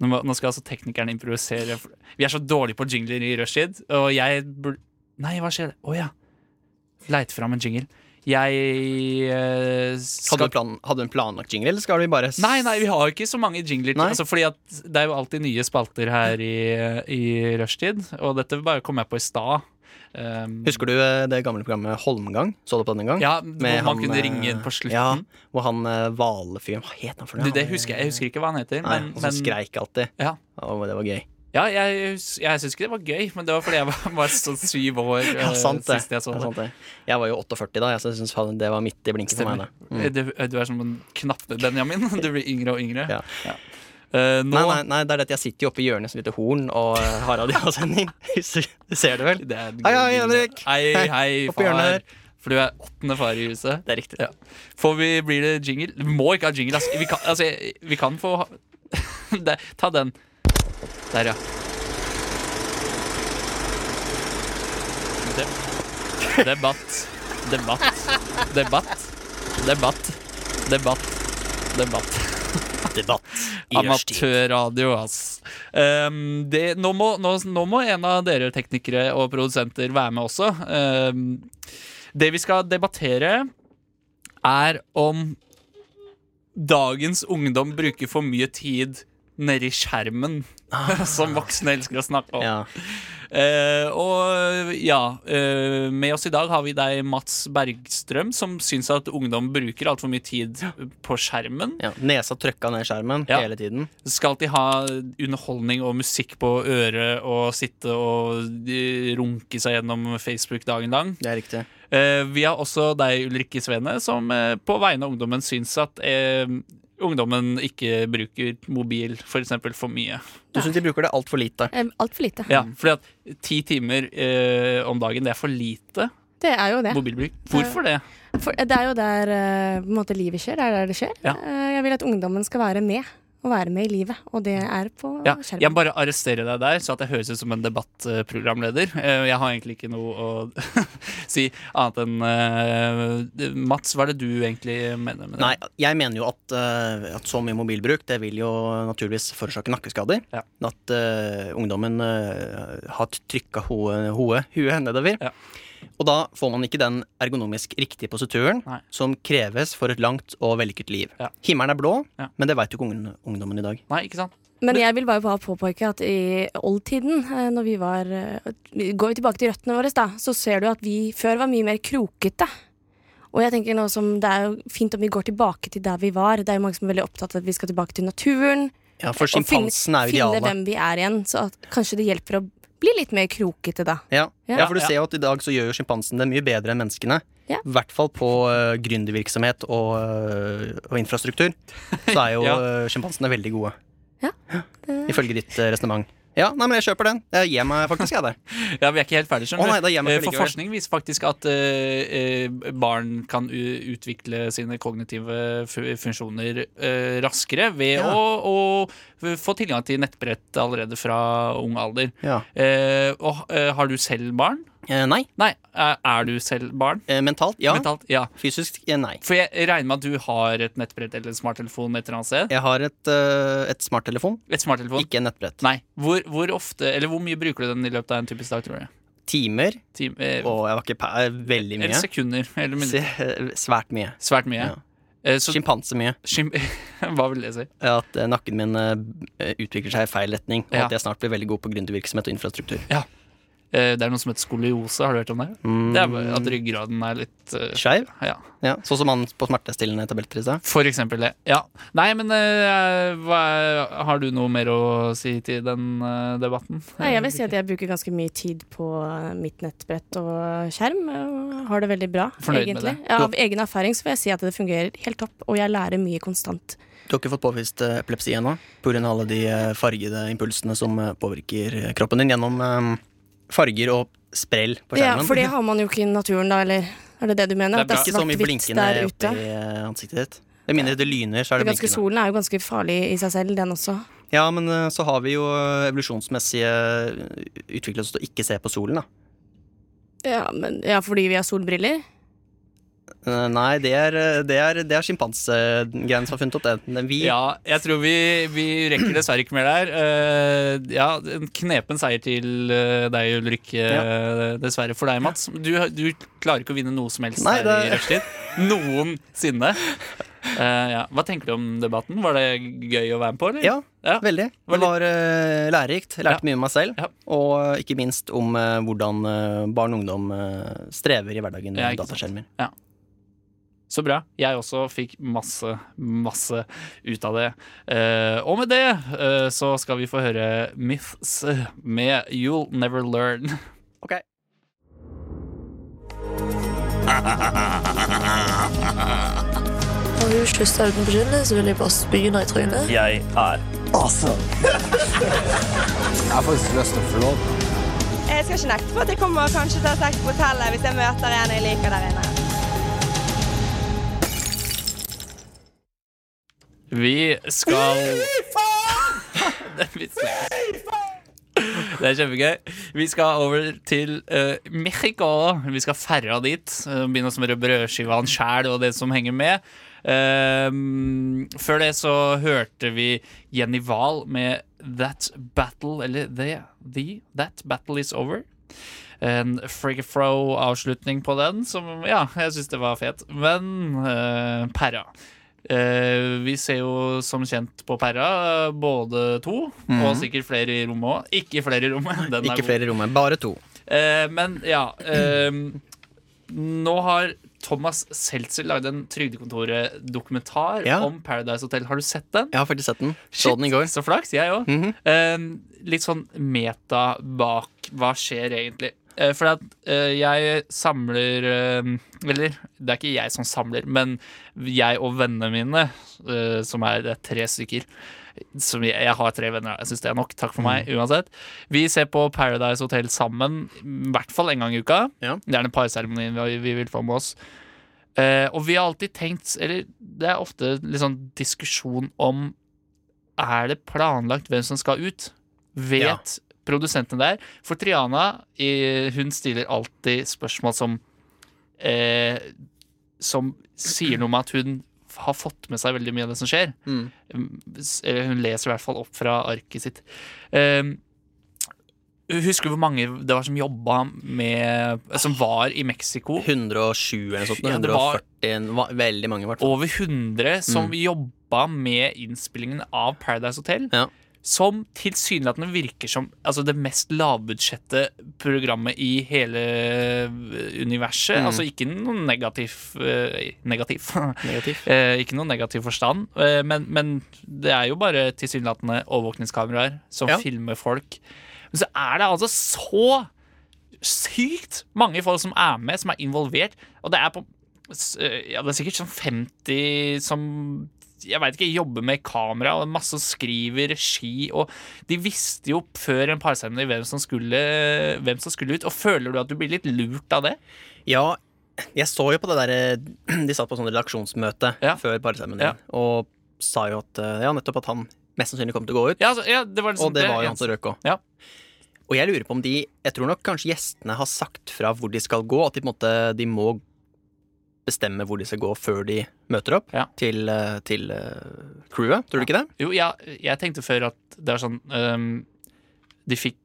Nå, må- nå skal altså teknikeren improvisere. for- Vi er så dårlige på jingler i rushtid, og jeg burde Nei, hva skjer? Å ja. Leite fram en jingle. Jeg eh, skal Hadde du, plan, hadde du en planlagt jingle, eller skal vi bare s- Nei, nei, vi har jo ikke så mange jingler. til- Nei. Altså, fordi at det er jo alltid nye spalter her i, i rushtid, og dette bare kom jeg på i stad. Um, Husker du eh, det gamle programmet Holmgang? Så du på den en gang? ja, hvor man kunne eh, ringe inn på slutten. Ja, hvor han eh, hvalefyren Hva het han for Du, det husker jeg, jeg husker ikke hva han heter. Nei, men, han som men skreik alltid. Ja. Å, det var gøy. ja, jeg, hus- jeg syns ikke det var gøy, men det var fordi jeg var, var sånn syv år Ja, eh, sant det. sist jeg så Ja, det. sant det. Jeg var jo 48 da, jeg så jeg synes faen det var midt i blinken for meg. Stemmer. Da. Mm. Du, eh, du er som en knappe, Benjamin. Du blir yngre og yngre. Ja. Eh, nå, Nei, nei, nei, det er dette jeg sitter jo oppe i hjørnet som heter Horn og eh, Harald i avsending. Du ser det vel? Det er Hei, hei, Henrik. Hei, Hei, hei, opp i hjørnet her. far. For du er åttende far i huset. Det er riktig. Ja. Får vi, blir det jingle? Vi må ikke ha jingle, ass. Vi kan, altså, vi kan få ha- Der, Ta den. Der, ja. De debatt. Debatt. Debatt. Debatt. Debatt. Debatt. Debatt. i rushtid. Amatørradio, ass. Ehm, det, nå, må, nå, nå må en av dere teknikere og produsenter være med også. Ehm, det vi skal debattere, er om dagens ungdom bruker for mye tid nedi skjermen, som voksne elsker å snakke om. Ja. Eh, og ja, eh, med oss i dag har vi deg, Mats Bergstrøm, som syns at ungdom bruker altfor mye tid på skjermen. ja. Nesa trøkka ned i skjermen Ja. hele tiden. Skal de ha underholdning og musikk på øret og sitte og eh, runke seg gjennom Facebook dagen lang? Det er riktig. Eh, vi har også deg, Ulrikke Svene, som eh, på vegne av ungdommen syns at eh, ungdommen ikke bruker mobil for, eksempel, for mye. Du syns de bruker det altfor lite. Altfor lite. Ja, fordi at ti timer eh, om dagen, det er for lite Det er jo det. mobilbruk. Hvorfor det? For det er jo der eh, på en måte livet skjer. Det er der det skjer. Ja. Eh, jeg vil at ungdommen skal være med, og være med i livet. Og det er på Ja, jeg skjermen. må bare arrestere deg der, så at jeg høres ut som en debattprogramleder. Eh, Jeg har egentlig ikke noe å si annet enn eh, Mats, hva er det du egentlig mener med det? Nei, jeg mener jo at, eh, at så mye mobilbruk det vil jo naturligvis forårsake nakkeskader. Ja. At eh, ungdommen eh, har trykka hodet hodet- huet nedover. Ja. Og da får man ikke den ergonomisk riktige posituren Nei. som kreves for et langt og vellykket liv. Ja. Himmelen er blå, Ja. men det veit jo ikke ungen- ungdommen i dag. Nei, ikke sant? Men jeg vil bare bare påpeke at i oldtiden, eh, når vi var eh, Går vi tilbake til røttene våre, da, så ser du at vi før var mye mer krokete. Og jeg tenker nå som Det er jo fint om vi går tilbake til der vi var. Det er jo mange som er veldig opptatt av at vi skal tilbake til naturen. Ja, For og finne, sjimpansen er jo finne idealet. hvem vi er igjen. Så at kanskje det hjelper å bli litt mer krokete, da. Ja. Ja. Ja, for du ser jo at i dag så gjør jo sjimpansen det mye bedre enn menneskene. Ja. I hvert fall på eh, gründervirksomhet og, eh, og infrastruktur. Så er jo Ja. eh, sjimpansene veldig gode. Ja, Ifølge ditt uh, resonnement. Ja, nei, men jeg kjøper den. Jeg gir meg faktisk, jeg der. Ja, Vi er ikke helt ferdig, Å, nei, skjønner da gir jeg meg Eh, For likevel. forskning viser faktisk at eh, eh, barn kan u- utvikle sine kognitive fu- funksjoner eh, raskere ved Ja. å, å få tilgang til nettbrett allerede fra ung alder. Ja. Eh, og eh, har du selv barn? Eh, nei. Nei, er er du selv barn? Eh, mentalt, ja. Mentalt, ja. Fysisk, eh, nei. For jeg regner med at du har et nettbrett eller en smarttelefon et eller annet sted? Jeg har et, eh, et smarttelefon, Et smarttelefon? ikke en nettbrett. Nei. Hvor, hvor ofte, eller hvor mye bruker du den i løpet av en typisk dag, tror jeg? Timer Time, eh, og jeg var ikke pæ... Veldig eller mye. sekunder? Eller minutter? Se- eh, Svært mye. Svært mye. Ja. Eh, Så, Sjimpanse mye. skim, hva vil det si? At eh, nakken min eh, utvikler seg i feil retning, og Ja. at jeg snart blir veldig god på gründervirksomhet og infrastruktur. Eh, Det er noe som heter skoliose, har du hørt om det? Det er bare at ryggraden er litt eh, Mm, Skeiv? Ja. Ja, sånn som han på smertestillende tabletter i stad. For eksempel det. Ja. Nei, men eh, hva, har du noe mer å si til den eh, debatten? Nei, jeg vil si at jeg bruker ganske mye tid på eh, mitt nettbrett og skjerm. Og har det veldig bra, Fornøyd med egentlig. det? Ja, av egen erfaring så vil jeg si at det fungerer helt topp, og jeg lærer mye konstant. Du har ikke fått påvist eh, epilepsi ennå pga. alle de eh, fargede impulsene som eh, påvirker eh, kroppen din gjennom eh, farger og sprell på Ja, skjermen. for det har man jo ikke i naturen, da, eller? Er det det du Det er mener? At det bra. er ikke så mye svart-hvitt blinkende der oppi ute? eh, ansiktet ditt. Med mindre det lyner, så er Det det ganske blinkende. solen er jo ganske farlig i seg selv, den også. Ja, men eh, så har vi jo eh, evolusjonsmessige eh, utviklet oss til å ikke se på solen, da. Ja, men, ja fordi vi har solbriller? Eh, Nei, det er, eh, det er, det er sjimpansegreiene som har funnet opp det. Men Vi, Ja, jeg tror vi, vi rekker dessverre ikke mer der. Eh, ja, en knepen seier til eh, deg, Ulrik. eh, Dessverre for deg, Mats. Du, du klarer ikke å vinne noe som helst Nei, her i det- rushtid. Noensinne. Eh, ja. Hva tenker du om debatten? Var det gøy å være med på, eller? ja, Ja. veldig. Det var eh, lærerikt. Jeg Ja. lærte mye om meg selv. Ja. Og eh, ikke minst om eh, hvordan eh, barn og ungdom eh, strever i hverdagen Ja, med ikke sant. dataskjermer. Så bra. Jeg også fikk masse, masse ut av det. Eh, og med det eh, så skal vi få høre Myths med You'll Never Learn. Ok. Når du kysser uten beskyldning, så vil jeg bare spy deg i trynet. Jeg er Jeg skal ikke nekte på at jeg kommer kanskje til å ha sex på hotellet hvis jeg møter en jeg liker der inne. Vi skal Det er vits, det. Det er kjempegøy. Vi skal over til eh, Mexico. Vi skal ferra dit. eh, begynne å smøre brødskivene sjæl og det som henger med. Ehm, før det så hørte vi Jenny Wahl med That Battle Eller The, the That Battle Is Over. En frigafro-avslutning på den som Ja, jeg syns det var fet. Men eh, perra. Eh, vi ser jo som kjent på Perra eh, både to, og sikkert flere i rommet òg. Ikke flere i rommet. Den er Mhm. Ikke god. flere i rommet, bare to. Eh, men ja eh, Nå har Thomas Seltzer lagd en Trygdekontoret-dokumentar Ja. om Paradise Hotel. Har du sett den? Jeg har faktisk sett den. Så den i går. Mhm. Så flaks, jeg òg. eh, litt sånn meta bak hva skjer egentlig. Eh, for at eh, jeg samler eh, Eller det er ikke jeg som samler, men jeg og vennene mine, eh, som er, det er tre stykker som jeg, jeg har tre venner, jeg syns det er nok. Takk for meg, Mhm. uansett. Vi ser på Paradise Hotel sammen, i hvert fall en gang i uka. Ja. Gjerne parseremonien vi, vi vil få med oss. Eh, og vi har alltid tenkt, eller det er ofte litt sånn diskusjon om er det planlagt hvem som skal ut? Vet Ja. produsentene der? For Triana eh, hun stiller alltid spørsmål som eh, Som sier noe om at hun har fått med seg veldig mye av det som skjer. Mm. S- eh, Hun leser i hvert fall opp fra arket sitt. Um, Husker du hvor mange det var som jobba med Som var i Mexico? 107 eller noe sånt. Ja, det var- 140, va- veldig mange i hvert fall. Mm. Over 100 som jobba med innspillingen av Paradise Hotel. Ja. Som tilsynelatende virker som altså det mest lavbudsjette programmet i hele eh, universet. Mm. Altså ikke noe negativ, eh, negativ. Negativ. Eh, ikke noe negativ forstand, eh, men, men det er jo bare tilsynelatende overvåkningskameraer som Ja. filmer folk. Men så er det altså så sykt mange folk som er med, som er involvert. Og det er på s- eh, ja, det er sikkert sånn 50 som jeg veit ikke, jobber med kamera og masse skriver regi og De visste jo før en parseremoni hvem, som skulle- hvem som skulle ut. Og føler du at du blir litt lurt av det? Ja, jeg så jo på det derre De satt på sånn redaksjonsmøte Ja. før parseremonien Ja. og sa jo at eh, Ja, nettopp at han mest sannsynlig kom til å gå ut. Ja, altså, ja, det var liksom og det var jo ja. han som røk òg. Ja. Og jeg lurer på om de Jeg tror nok kanskje gjestene har sagt fra hvor de skal gå, at de på en måte De må bestemme hvor de skal gå før de møter opp Ja. til, eh, til eh, crewet. Tror du ikke det? Jo, ja, jeg tenkte før at det er sånn ehm, De fikk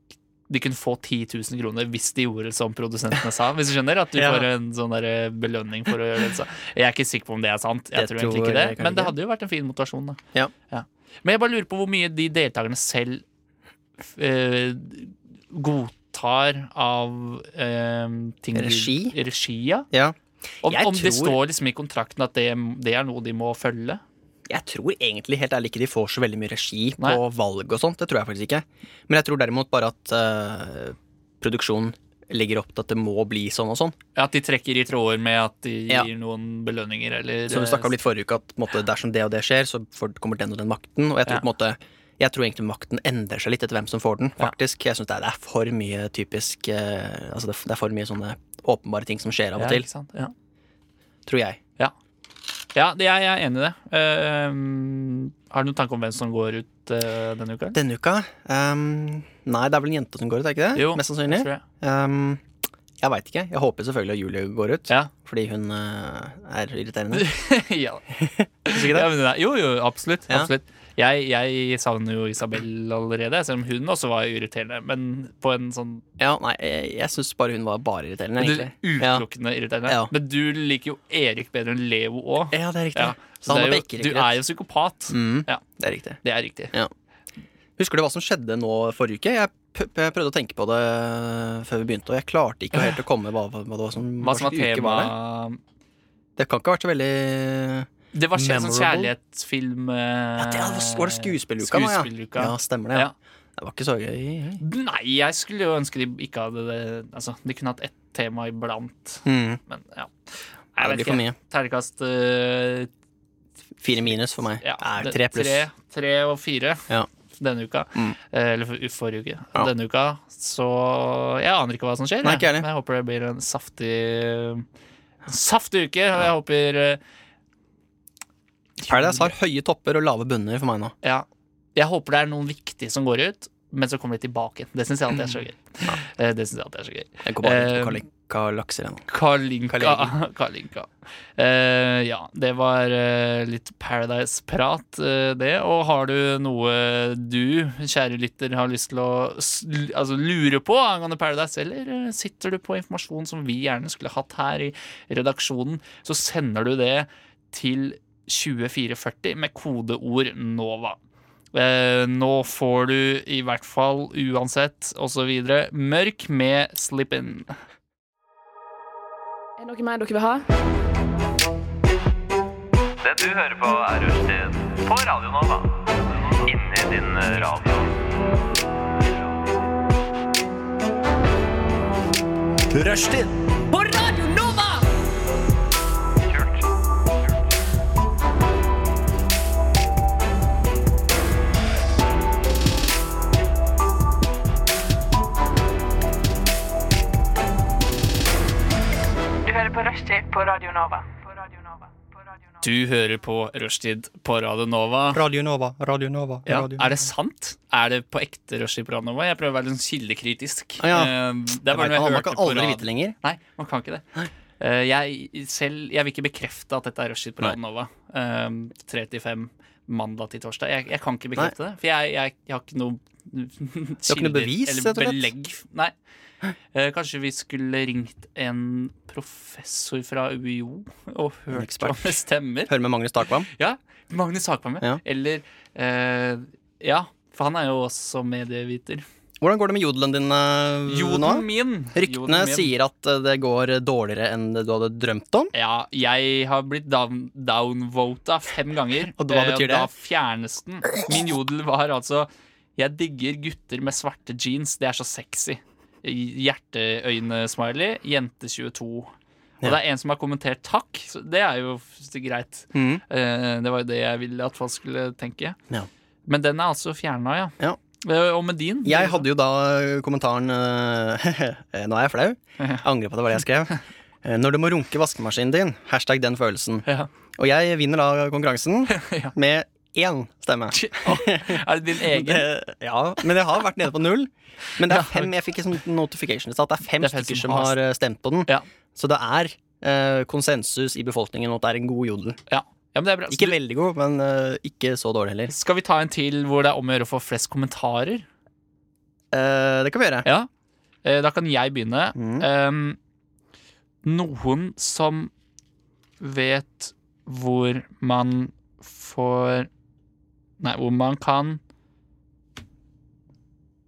de kunne få 10 000 kroner hvis de gjorde som produsentene sa. Hvis du skjønner At du Ja. får en sånn der belønning for å gjøre det. Så jeg er ikke sikker på om det er sant. Jeg Det tror egentlig tror ikke det jeg kan Men det ikke. hadde jo vært en fin motivasjon. Da. Ja. Men jeg bare lurer på hvor mye de deltakerne selv eh, godtar av ehm, ting de- Regi? regi ja. Ja. Om, Jeg om det tror- står liksom i kontrakten at det, det er noe de må følge. Jeg tror egentlig helt ærlig ikke de får så veldig mye regi på Nei. valg og sånt. Det tror jeg faktisk ikke. Men jeg tror derimot bare at eh, produksjonen legger opp til at det må bli sånn og sånn. Ja, At de trekker i tråder med at de gir Ja. noen belønninger eller Som vi snakka om litt forrige uke, at på en måte, dersom det og det skjer, så får, kommer den og den makten. Og jeg tror, Ja. på en måte, jeg tror egentlig makten endrer seg litt etter hvem som får den, Ja. faktisk. Jeg syns det, er- det er for mye typisk eh, Altså, det, er- det er for mye sånne åpenbare ting som skjer av ja, og til, ikke sant? Ja, tror jeg. ja det, jeg, jeg er enig i det. Ehm, har du noen tanke om hvem som går ut eh, denne uka? Denne uka ehm, Nei, det er vel en jente som går ut, er ikke det? Jo, Mest Jeg sannsynlig. tror jeg. Ehm, jeg veit ikke. Jeg håper selvfølgelig at Julie går ut, Ja. fordi hun eh, er irriterende. ja. Syns ikke det? Ja, men det er- jo, jo, absolutt. Ja. absolutt. Jeg, jeg savner jo Isabel allerede, selv om hun også var irriterende. Men på en sånn Ja, nei, jeg, jeg syns bare hun var bare irriterende, egentlig. Ja. utelukkende irriterende. Ja. Men du liker jo Erik bedre enn Leo òg. Ja, det er riktig. Ja, Så Så han det var er på jo, du ekkerett. er jo psykopat. Mm, Ja. Det er riktig. Det er riktig. Husker du hva som skjedde nå forrige uke? Jeg, p p jeg prøvde å tenke på det eh, før vi begynte, og jeg klarte ikke helt å komme hva, hva det var som, Hva som var slags uke det. temaet Det kan ikke ha vært så veldig Det var skjedd sånn Memorable. kjærlighetsfilm ja, eh, det Var var det skuespilluka nå, ja? skuespilluka. Ja, stemmer det. Ja. Ja. Det var ikke så gøy. Nei, jeg skulle jo ønske de ikke hadde det Altså, de kunne hatt ett tema iblant, Mm. men ja. Det Jeg vet blir for ikke. mye. Terningkast eh, Fire minus for meg. ja, Nei, det- tre pluss. Tre, tre og fire Ja. denne uka. Mm. Eh, Eller for, forrige uke. Ja. Denne uka. Så jeg aner ikke hva som skjer. Nei, jeg. ikke jeg heller. Men jeg håper det blir en saftig Saftig uke. Og jeg håper eh, Paradise har høye topper og lave bunner for meg nå. Ja. Jeg håper det er noen viktige som går ut, men så kommer de tilbake. Det syns jeg alltid er så gy. Eh, Det synes jeg alltid er så gøy. Jeg går bare Eh, ut på Kalinka lakser igjen. Kalinka. Kalinka. Kalinka. Eh, ja, det var eh, litt Paradise-prat, eh, det. Og har du noe du, kjære lytter, har lyst til å s- l- altså, lure på angående Paradise, eller eh, sitter du på informasjon som vi gjerne skulle hatt her i redaksjonen, så sender du det til 2440 med kodeord NOVA. Eh, nå får du i hvert fall uansett osv. mørk med slip-in. Er det noe mer dere vil ha? Det du hører på er Rushtid på Radio Nova. Inni din eh, radio. Rushtid på Radio Nova! Kult. Du hører på Rushtid på Radio Nova. På Radio Nova. På Radio Nova. Du hører på Rushtid på Radio Nova. Radio Nova, Radio Nova, Ja. Er det sant? Er det på ekte rushtid på Radio Nova? Jeg prøver å være litt sånn kildekritisk. Ah, ja. Eh, Det er man, bare noe jeg man hørte kan på aldri radio. vite lenger. Nei, man kan ikke det. Eh, Jeg, selv, jeg vil ikke bekrefte at dette er rushtid på Radio Nova. Eh, 3 til 5 mandag til torsdag. Jeg, jeg kan ikke bekrefte det, for jeg, jeg, jeg har ikke noe har ikke noe bevis, rett og eller slett? belegg. Nei. Eh, kanskje vi skulle ringt en professor fra UiO og hørt ekspert. hva det stemmer? Hør med Magnus Takvam. Ja, Magnus Hagberg med. Ja. Eller eh, Ja, for han er jo også medieviter. Hvordan går det med jodelen din eh, nå? Joden min! Ryktene Joden min. sier at eh, det går dårligere enn det du hadde drømt om. Ja, jeg har blitt down, downvota fem ganger. Og hva eh, betyr det? Da fjernes den. Min jodel var altså Jeg digger gutter med svarte jeans. Det er så sexy. Hjerteøyne-smiley. Jente 22. Og Ja. det er en som har kommentert takk. Så det er jo f- greit. Mhm. Eh, Det var jo det jeg ville at folk skulle tenke. Ja. Men den er altså fjerna, ja. Ja. Eh, Og med din? Jeg hadde jo da eh, kommentaren eh, Nå er jeg flau. Jeg angrer på at det var det jeg skrev. Eh, Når du må runke vaskemaskinen din. Hashtag den følelsen. Ja. Og jeg vinner da konkurransen med én stemme. Er det din egen? Det, ja, men jeg har vært nede på null. Men det er fem jeg fikk en sånn notification i stad. Det er fem Det er fem stykker som som har- har eh, stemt på den. Ja. Så det er eh, konsensus i befolkningen om at det er en god jodel. Ja. ja, men det er bra. Så Ikke veldig god, men eh, ikke så dårlig heller. Skal vi ta en til hvor det er om å gjøre å få flest kommentarer? Eh, det kan vi gjøre. Ja. Eh, Da kan jeg begynne. Mm. Ehm, noen som vet hvor man får Nei, hvor man kan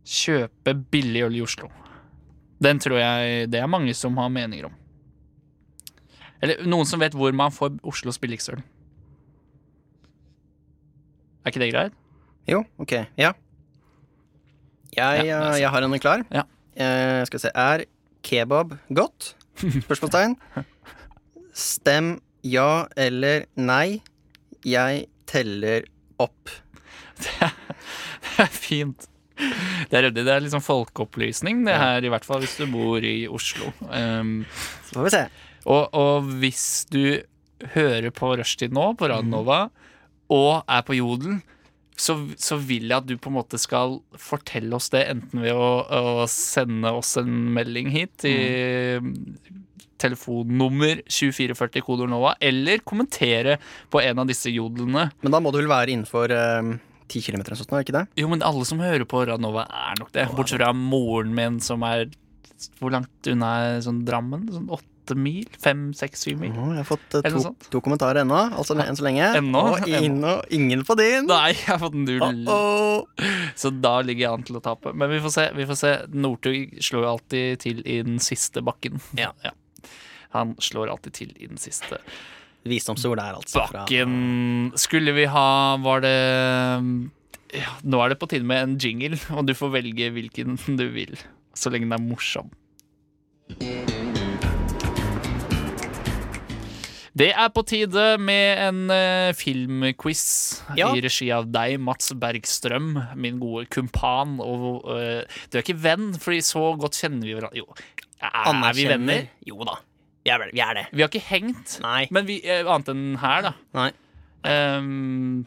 kjøpe billig øl i Oslo. Den tror jeg det er mange som har meninger om. Eller noen som vet hvor man får Oslos billigste øl. Er ikke det greit? Jo, ok. Ja. Jeg, Ja, det er eh, jeg har en klar. Ja. Eh, skal vi se Er kebab godt? Spørsmålstegn. Stem ja eller nei. Jeg teller opp. Det er fint. Det er, ryddig. det er liksom folkeopplysning, det her, i hvert fall hvis du bor i Oslo. Um, Så får vi se. Og, og hvis du hører på Rushtid nå, på Radio Nova, og er på Jodel, så, så vil jeg at du på en måte skal fortelle oss det, enten ved å, å sende oss en melding hit i Mhm. telefonnummer 2440 kodeord Nova, eller kommentere på en av disse jodlene. Men da må du vel være innenfor eh, 10 km eller noe sånt, nå, er ikke det? Jo, men alle som hører på Radio Nova, er nok det. Bortsett fra moren min, som er Hvor langt unna er sånn Drammen? Sånn åtte mil? Fem, seks, syv mil? Nå, jeg har fått eh, Eller noe to, sånt. to kommentarer ennå, altså enn så lenge. Ennå? Og, inn, og ingen på din. Nei, jeg har fått null. Åh, åh. Så da ligger jeg an til å tape. Men vi får se. vi får se Northug slår jo alltid til i den siste bakken. Ja. Han slår alltid til i den siste Visdomsord der, altså. fra- bakken. Skulle vi ha Var det ja, Nå er det på tide med en jingle, og du får velge hvilken du vil. Så lenge den er morsom. Det er på tide med en eh, filmquiz Ja. i regi av deg, Mats Bergstrøm, min gode kumpan. Og, eh, du er ikke venn, fordi så godt kjenner vi hverandre. Jo, er vi Anerkjenner. venner? Jo da. Vi er, vel- vi er det. Vi har ikke hengt, Nei. men vi, eh, annet enn her, da. Nei. Ehm,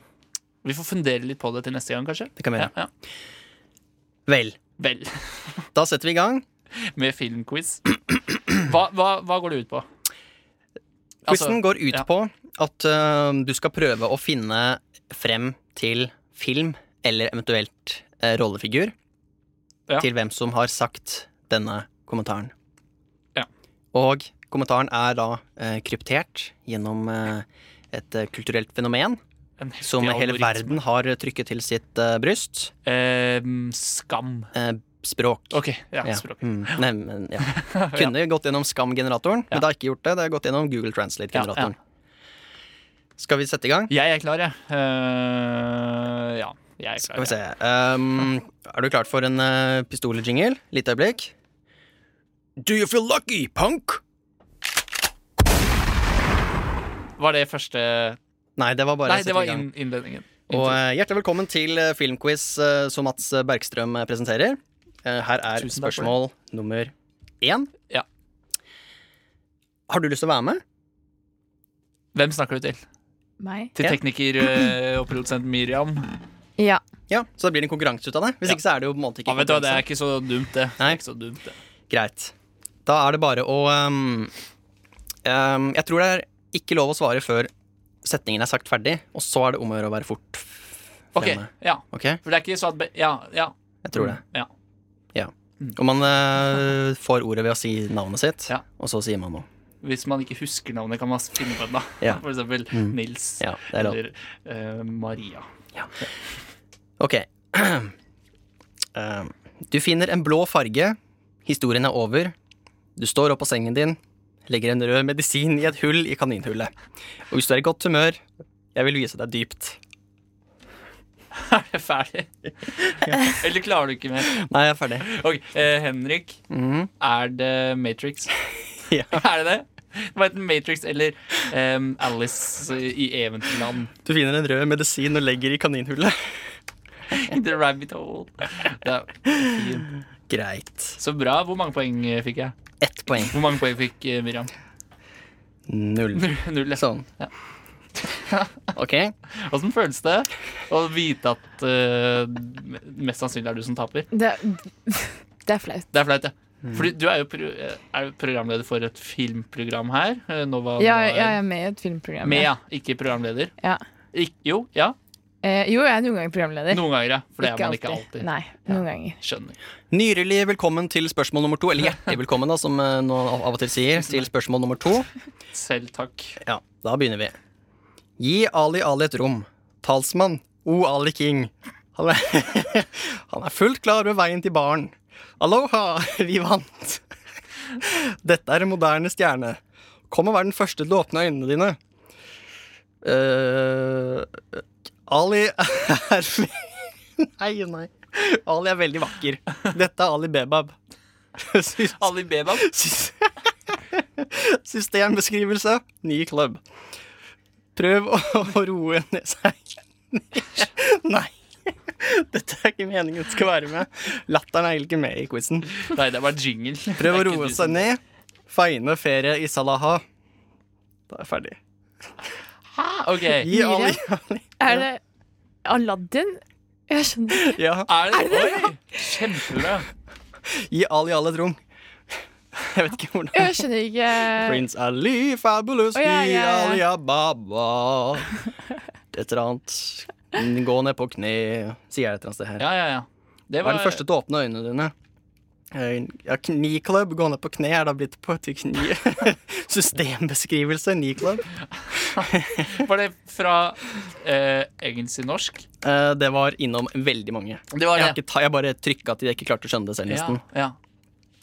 vi får fundere litt på det til neste gang, kanskje. Det kan vi Ja, gjøre. ja. Vel, Vel, da setter vi i gang. med filmquiz. Hva, hva, hva går det ut på? Altså, Quizen går ut ja. på at ø, du skal prøve å finne frem til film, eller eventuelt eh, rollefigur, Ja. til hvem som har sagt denne kommentaren. Ja. Og kommentaren er da eh, kryptert gjennom eh, et eh, kulturelt fenomen en heftig som hele algoritme. verden har trykket til sitt eh, bryst. Ehm, skam. Eh, språk. OK. Ja, Ja. språk. Mm. Nei, men, ja. Kunne gått gjennom Skam-generatoren, men Ja. det har ikke gjort det. Det har gått gjennom Google Ja, ja. Translate-generatoren. Skal vi sette i gang? Jeg er klar, jeg. Eh, ja, jeg er Skal klar. vi se. Um, er du klar for en uh, pistoljingle? Litt øyeblikk. Do you feel lucky, punk? jeg. Var det første Nei, det var bare Nei, å det sette var i gang. inn, innledningen. Og uh, Hjertelig velkommen til uh, filmquiz uh, som Mats Bergstrøm uh, presenterer. Uh, her Tusen takk er for det. spørsmål nummer én. Ja. Har du lyst til å være med? Hvem snakker du til? Meg? Til Ja. tekniker eh, og produsent Miriam? Ja. Ja, Så da blir det en konkurranse ut av det. Hvis Ja. ikke, så er det jo på en måte ikke Ja, vet du hva, Det konkurranse. er ikke så dumt, det. det, Nei. er ikke så dumt, det. Greit. Da er det bare å um, um, Jeg tror det er ikke lov å svare før setningen er sagt ferdig, og så er det om å gjøre å være fort. Ok, fremme. ja. Ok? For det er ikke sånn at be- Ja, ja. Jeg tror det. Mm, Ja. Mm. Og man eh, får ordet ved å si navnet sitt, Ja. og så sier man noe. Hvis man ikke husker navnet, kan man finne på det. da. Ja. Mm. For eksempel Nils Ja, det er lov. eller eh, Maria. Ok. Eh, du finner en blå farge. Historien er over. Du står opp av sengen din, legger en rød medisin i et hull i kaninhullet. Og hvis du er i godt humør, jeg vil vise deg dypt. Er det ferdig? Eller klarer du ikke mer? Nei, jeg er ferdig. Ok, eh, Henrik, Mhm. er det Matrix? Ja. Er det det? Det var enten Matrix eller em, Alice i Eventyrland. Du finner en rød medisin og legger i kaninhullet. In The Rabbit Hole. Det er fint. Greit. Så bra. Hvor mange poeng eh, fikk jeg? Ett poeng. Hvor mange poeng fikk eh, Miriam? Null. Null. ja. Sånn. Ja. Ok. Åssen føles det å vite at eh, mest sannsynlig er du som taper? Det, det er flaut. Det er flaut, ja. Mm. Fordi du er jo pro eh, er jo programleder for et filmprogram her. eh, Nova, Ja, Nova er- jeg er med i et filmprogram. Med, ja. Ikke programleder. Ja. Ik jo, ja. Eh, jo, jeg er noen ganger programleder. Noen ganger, ja. For det er man ikke alltid. Nei, noen ganger. Skjønner. Nyrelig velkommen til spørsmål nummer to. Eller hjertelig velkommen, da, som eh, noen av av og til sier. Til spørsmål nummer to. Selv takk. Ja, da begynner vi. Gi Ali Ali et rom. Talsmann. O Ali King. Han er, han er fullt klar over veien til baren. Aloha, vi vant. Dette er en moderne stjerne. Kom og vær den første til å åpne øynene dine. Eh, Ali er Nei, nei. Ali er veldig vakker. Dette er Ali Bebab. Syst- Ali Bebab. syst- Systembeskrivelse. Ny klubb. Prøv å, å roe ned seg. Nei. Dette er ikke meningen det skal være med. Latteren er ikke med i quizen. Nei, det var jingle. Prøv å Det er ikke du roe seg som- ned. Feine ferie i Salaha. Da er jeg ferdig. Ah, OK. Gi Ali, Ali. Er det Aladdin? Jeg skjønner. Ja. Er det, Oi! Kjempebra. Gi Ali alle et rom. Jeg vet ikke hvordan. Jeg skjønner ikke Prince Ali, fabulous, Eh. Å, ja, vi, ja, ja. Ali Ababa. Et eller annet. Gå ned på kne, sier jeg et eller annet sted her. Ja, ja, ja. Det Hva er den første til å åpne øynene dine? Eh, Ja, Kniklubb, gå ned på kne, er da blitt på til kni. Systembeskrivelse, niklubb. Var det fra eh, egentlig norsk? Eh, Det var innom veldig mange. Det var Jeg, har ikke ta, jeg bare trykka til jeg ikke klarte å skjønne det selv, Ja, nesten. ja.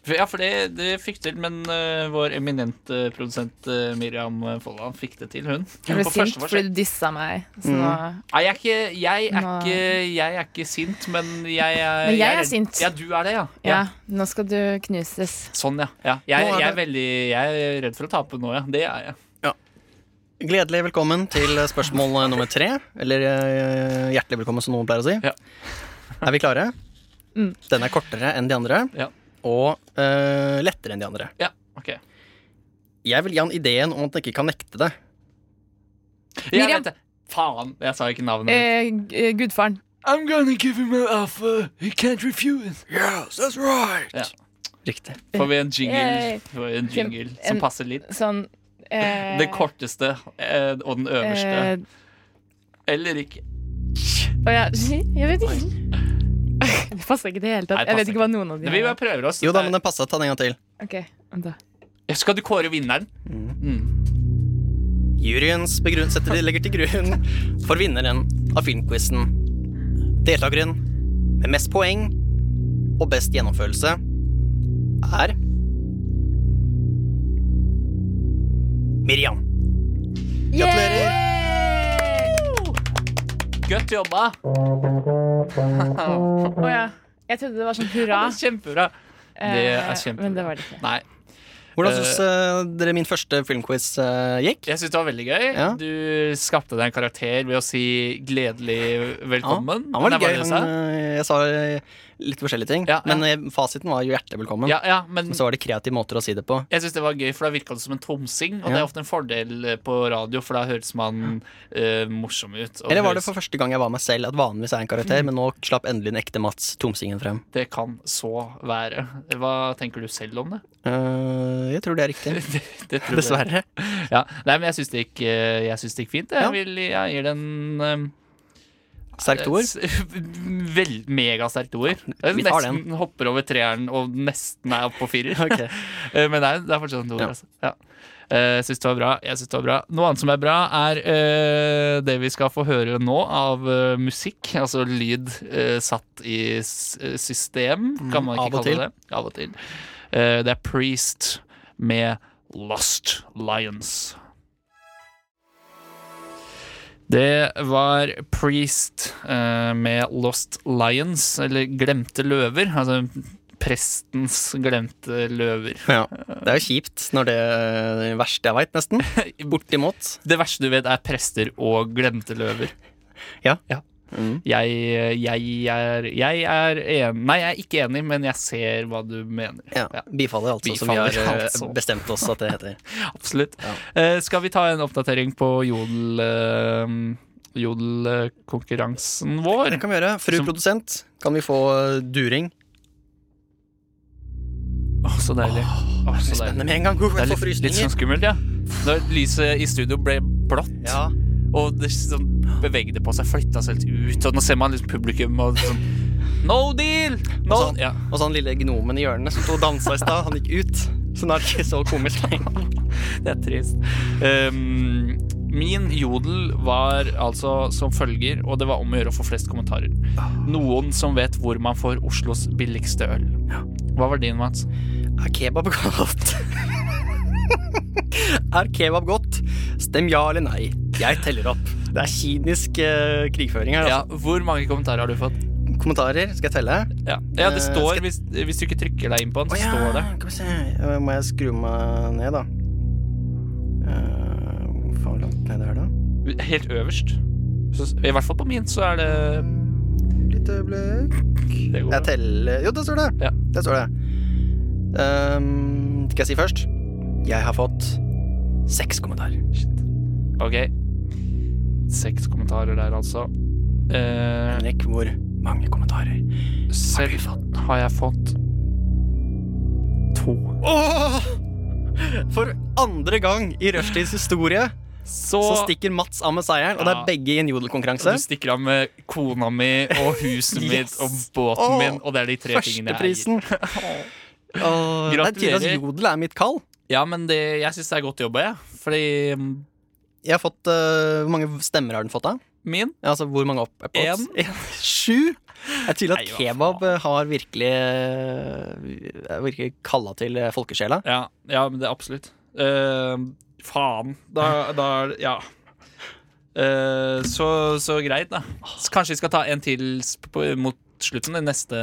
For, ja, for det, det fikk til, men eh, vår eminente produsent eh, Miriam Folland fikk det til, hun. Jeg ble På første sint fordi forsøk. du dissa meg. Så nå Nei, jeg er, ikke, jeg, er Nei. ikke, jeg er ikke sint, men jeg er Men jeg er redd- sint. Ja, du er det, ja. ja, nå skal du knuses. Sånn, ja. ja. Jeg, Nå jeg, er er det- veldig, jeg er redd for å tape nå, ja. Det er jeg. Gledelig velkommen til spørsmål nummer tre. Eller eh, hjertelig velkommen, som noen pleier å si. Ja. Er vi klare? Mm. Den er kortere enn de andre, Ja. og eh, lettere enn de andre. Ja, ok. Jeg vil gi han ideen om at han ikke kan nekte det. Jeg Miriam. vet det. Faen, jeg sa ikke navnet. mitt. Eh, g- eh, gudfaren. I'm gonna give him an offer. He can't refuse. Yes, that's right! Ja. Riktig. Får vi en jingle, Yay. får vi en jingle Eh, som En- passer litt? Sånn eh, Den korteste eh, og den øverste. eh, Eller ikke. å ja. Jeg vet ikke. Det passer ikke i det Nei, hele tatt. det Jeg passer vet ikke hva noen av de Vi bare prøver oss. Jo da, men den passa. Ta den en gang til. Ok, vent da. Ja, Skal du kåre vinneren? Mm. Mm. Juryens begrunn setter de legger til grunn for vinneren av filmquizen. Deltakeren med mest poeng og best gjennomførelse er Miriam. Gratulerer. Godt jobba! Å ja. Jeg trodde det var sånn hurra. Ja, Kjempebra. Det er kjempebra. Eh, Men det var det ikke. Nei, Hvordan syns eh, dere min første filmquiz eh, gikk? jeg syns det var veldig gøy. Ja. Du skapte deg en karakter ved å si 'gledelig velkommen'. Ja, han var Det litt gøy. det du Han, sa. eh, jeg sa eh, litt forskjellige ting. Ja, ja. Men eh, fasiten var jo hjertelig velkommen. Ja, ja, men Men så var det kreative måter å si det på. jeg syns det var gøy, for da virka det som en tomsing. Og Ja. det er ofte en fordel eh, på radio, for da høres man eh, morsom ut. Og Eller var det høres- for første gang jeg var meg selv, at vanligvis er jeg en karakter, men nå slapp endelig den ekte Mats Tomsingen frem. Det kan så være. Hva tenker du selv om det? Eh, jeg tror det er riktig. det, det tror jeg. Dessverre. Ja. Nei, men jeg syns det, gikk, eh, jeg syns det gikk fint. Jeg, Ja. vil, jeg gir den eh, Sterkt ord. S- Vel, megasterkt ord. vi tar nesten hopper over treeren og nesten er oppe på firer. Ok. Eh, Men det er, det er fortsatt et ord. Ja. Altså. Ja. Eh, Jeg syns det var bra. Jeg synes det var bra. Noe annet som er bra, er eh, det vi skal få høre nå av eh, musikk. Altså lyd eh, satt i s- eh, system, kan man Mm, av ikke og til. kalle det. Av og til. Eh, Det er Priest med Lost Lions. Det var Priest eh, med Lost Lions, eller Glemte løver. Altså prestens glemte løver. Ja. Det er jo kjipt når det eh, det verste jeg veit, nesten. Bortimot. Det verste du vet, er prester og glemte løver. Ja. Mm. Jeg, jeg, er, jeg er enig Nei, jeg er ikke enig, men jeg ser hva du mener. Ja. Ja. Bifaller, altså, som vi Bifaller, har eh, altså. bestemt oss at det heter. Absolutt. Ja. Eh, skal vi ta en oppdatering på jodel... Eh, Jodelkonkurransen vår. Det kan vi gjøre. Fru Som- produsent, kan vi få eh, during? Åh, så deilig. Åh, så Spennende deilig. med en gang. Uff, Det er jeg får litt, litt sånn frysninger. skummelt, ja. Når lyset i studio ble blått, Ja. og det sånn bevegde på seg, flytta seg litt ut, og nå ser man liksom publikum og sånn No deal! No, Og sånn, så- ja. Og så han lille gnomen i hjørnet som sto og dansa i stad, han gikk ut. Så nå er det ikke så komisk lenger. Det er trist. Ehm, min jodel var altså som følger, og det var om å gjøre å få flest kommentarer. Noen som vet hvor man får Oslos billigste øl. Hva var din, Mats? Er kebab godt? er kebab godt? Stem ja eller nei. Jeg teller opp. Det er kynisk eh, krigføring her. Ja, hvor mange kommentarer har du fått? Altså. kommentarer. Skal jeg telle? Ja, ja Eh, det står, skal- hvis, hvis du ikke trykker deg inn på den, så Å ja, står det. Skal vi se. Eh, Må jeg skru meg ned, da? Eh, Hvor faen langt ned er det? Helt øverst. Så, I hvert fall på min, så er det Litt øyeblikk Det går Jeg bra. teller Jo, det står det. Ja. Det står det. Ehm, skal jeg si først? Jeg har fått seks kommentarer. Ok. Seks kommentarer der, altså. Eh, Henrik, hvor mange kommentarer? selv har jeg fått to. Åh! For andre gang i Rushtids historie Så, så stikker Mats av med seieren, og det er Ja. begge i en du jodelkonkurranse. stikker av med kona mi og huset mitt og båten Åh, min, og det er de tre tingene jeg eier. Førsteprisen. Åh, Det er tydelig at Gratulerer. jodel er mitt kall. Ja, men det, jeg syns det er godt jobba, jeg. Fordi mm, Jeg har fått, eh, Hvor mange stemmer har den fått, da? min Ja, Altså, Hvor mange opp? upvotes? En. En. Sju! Det er tydelig at Nei, hva kebab eh, har virkelig eh, er Virkelig kalla til eh, folkesjela. Ja, ja men det er absolutt. Eh, faen. Da, da er det- Ja. Eh, så, så greit, da. Så kanskje vi skal ta en til s- på, mot slutten? i Neste,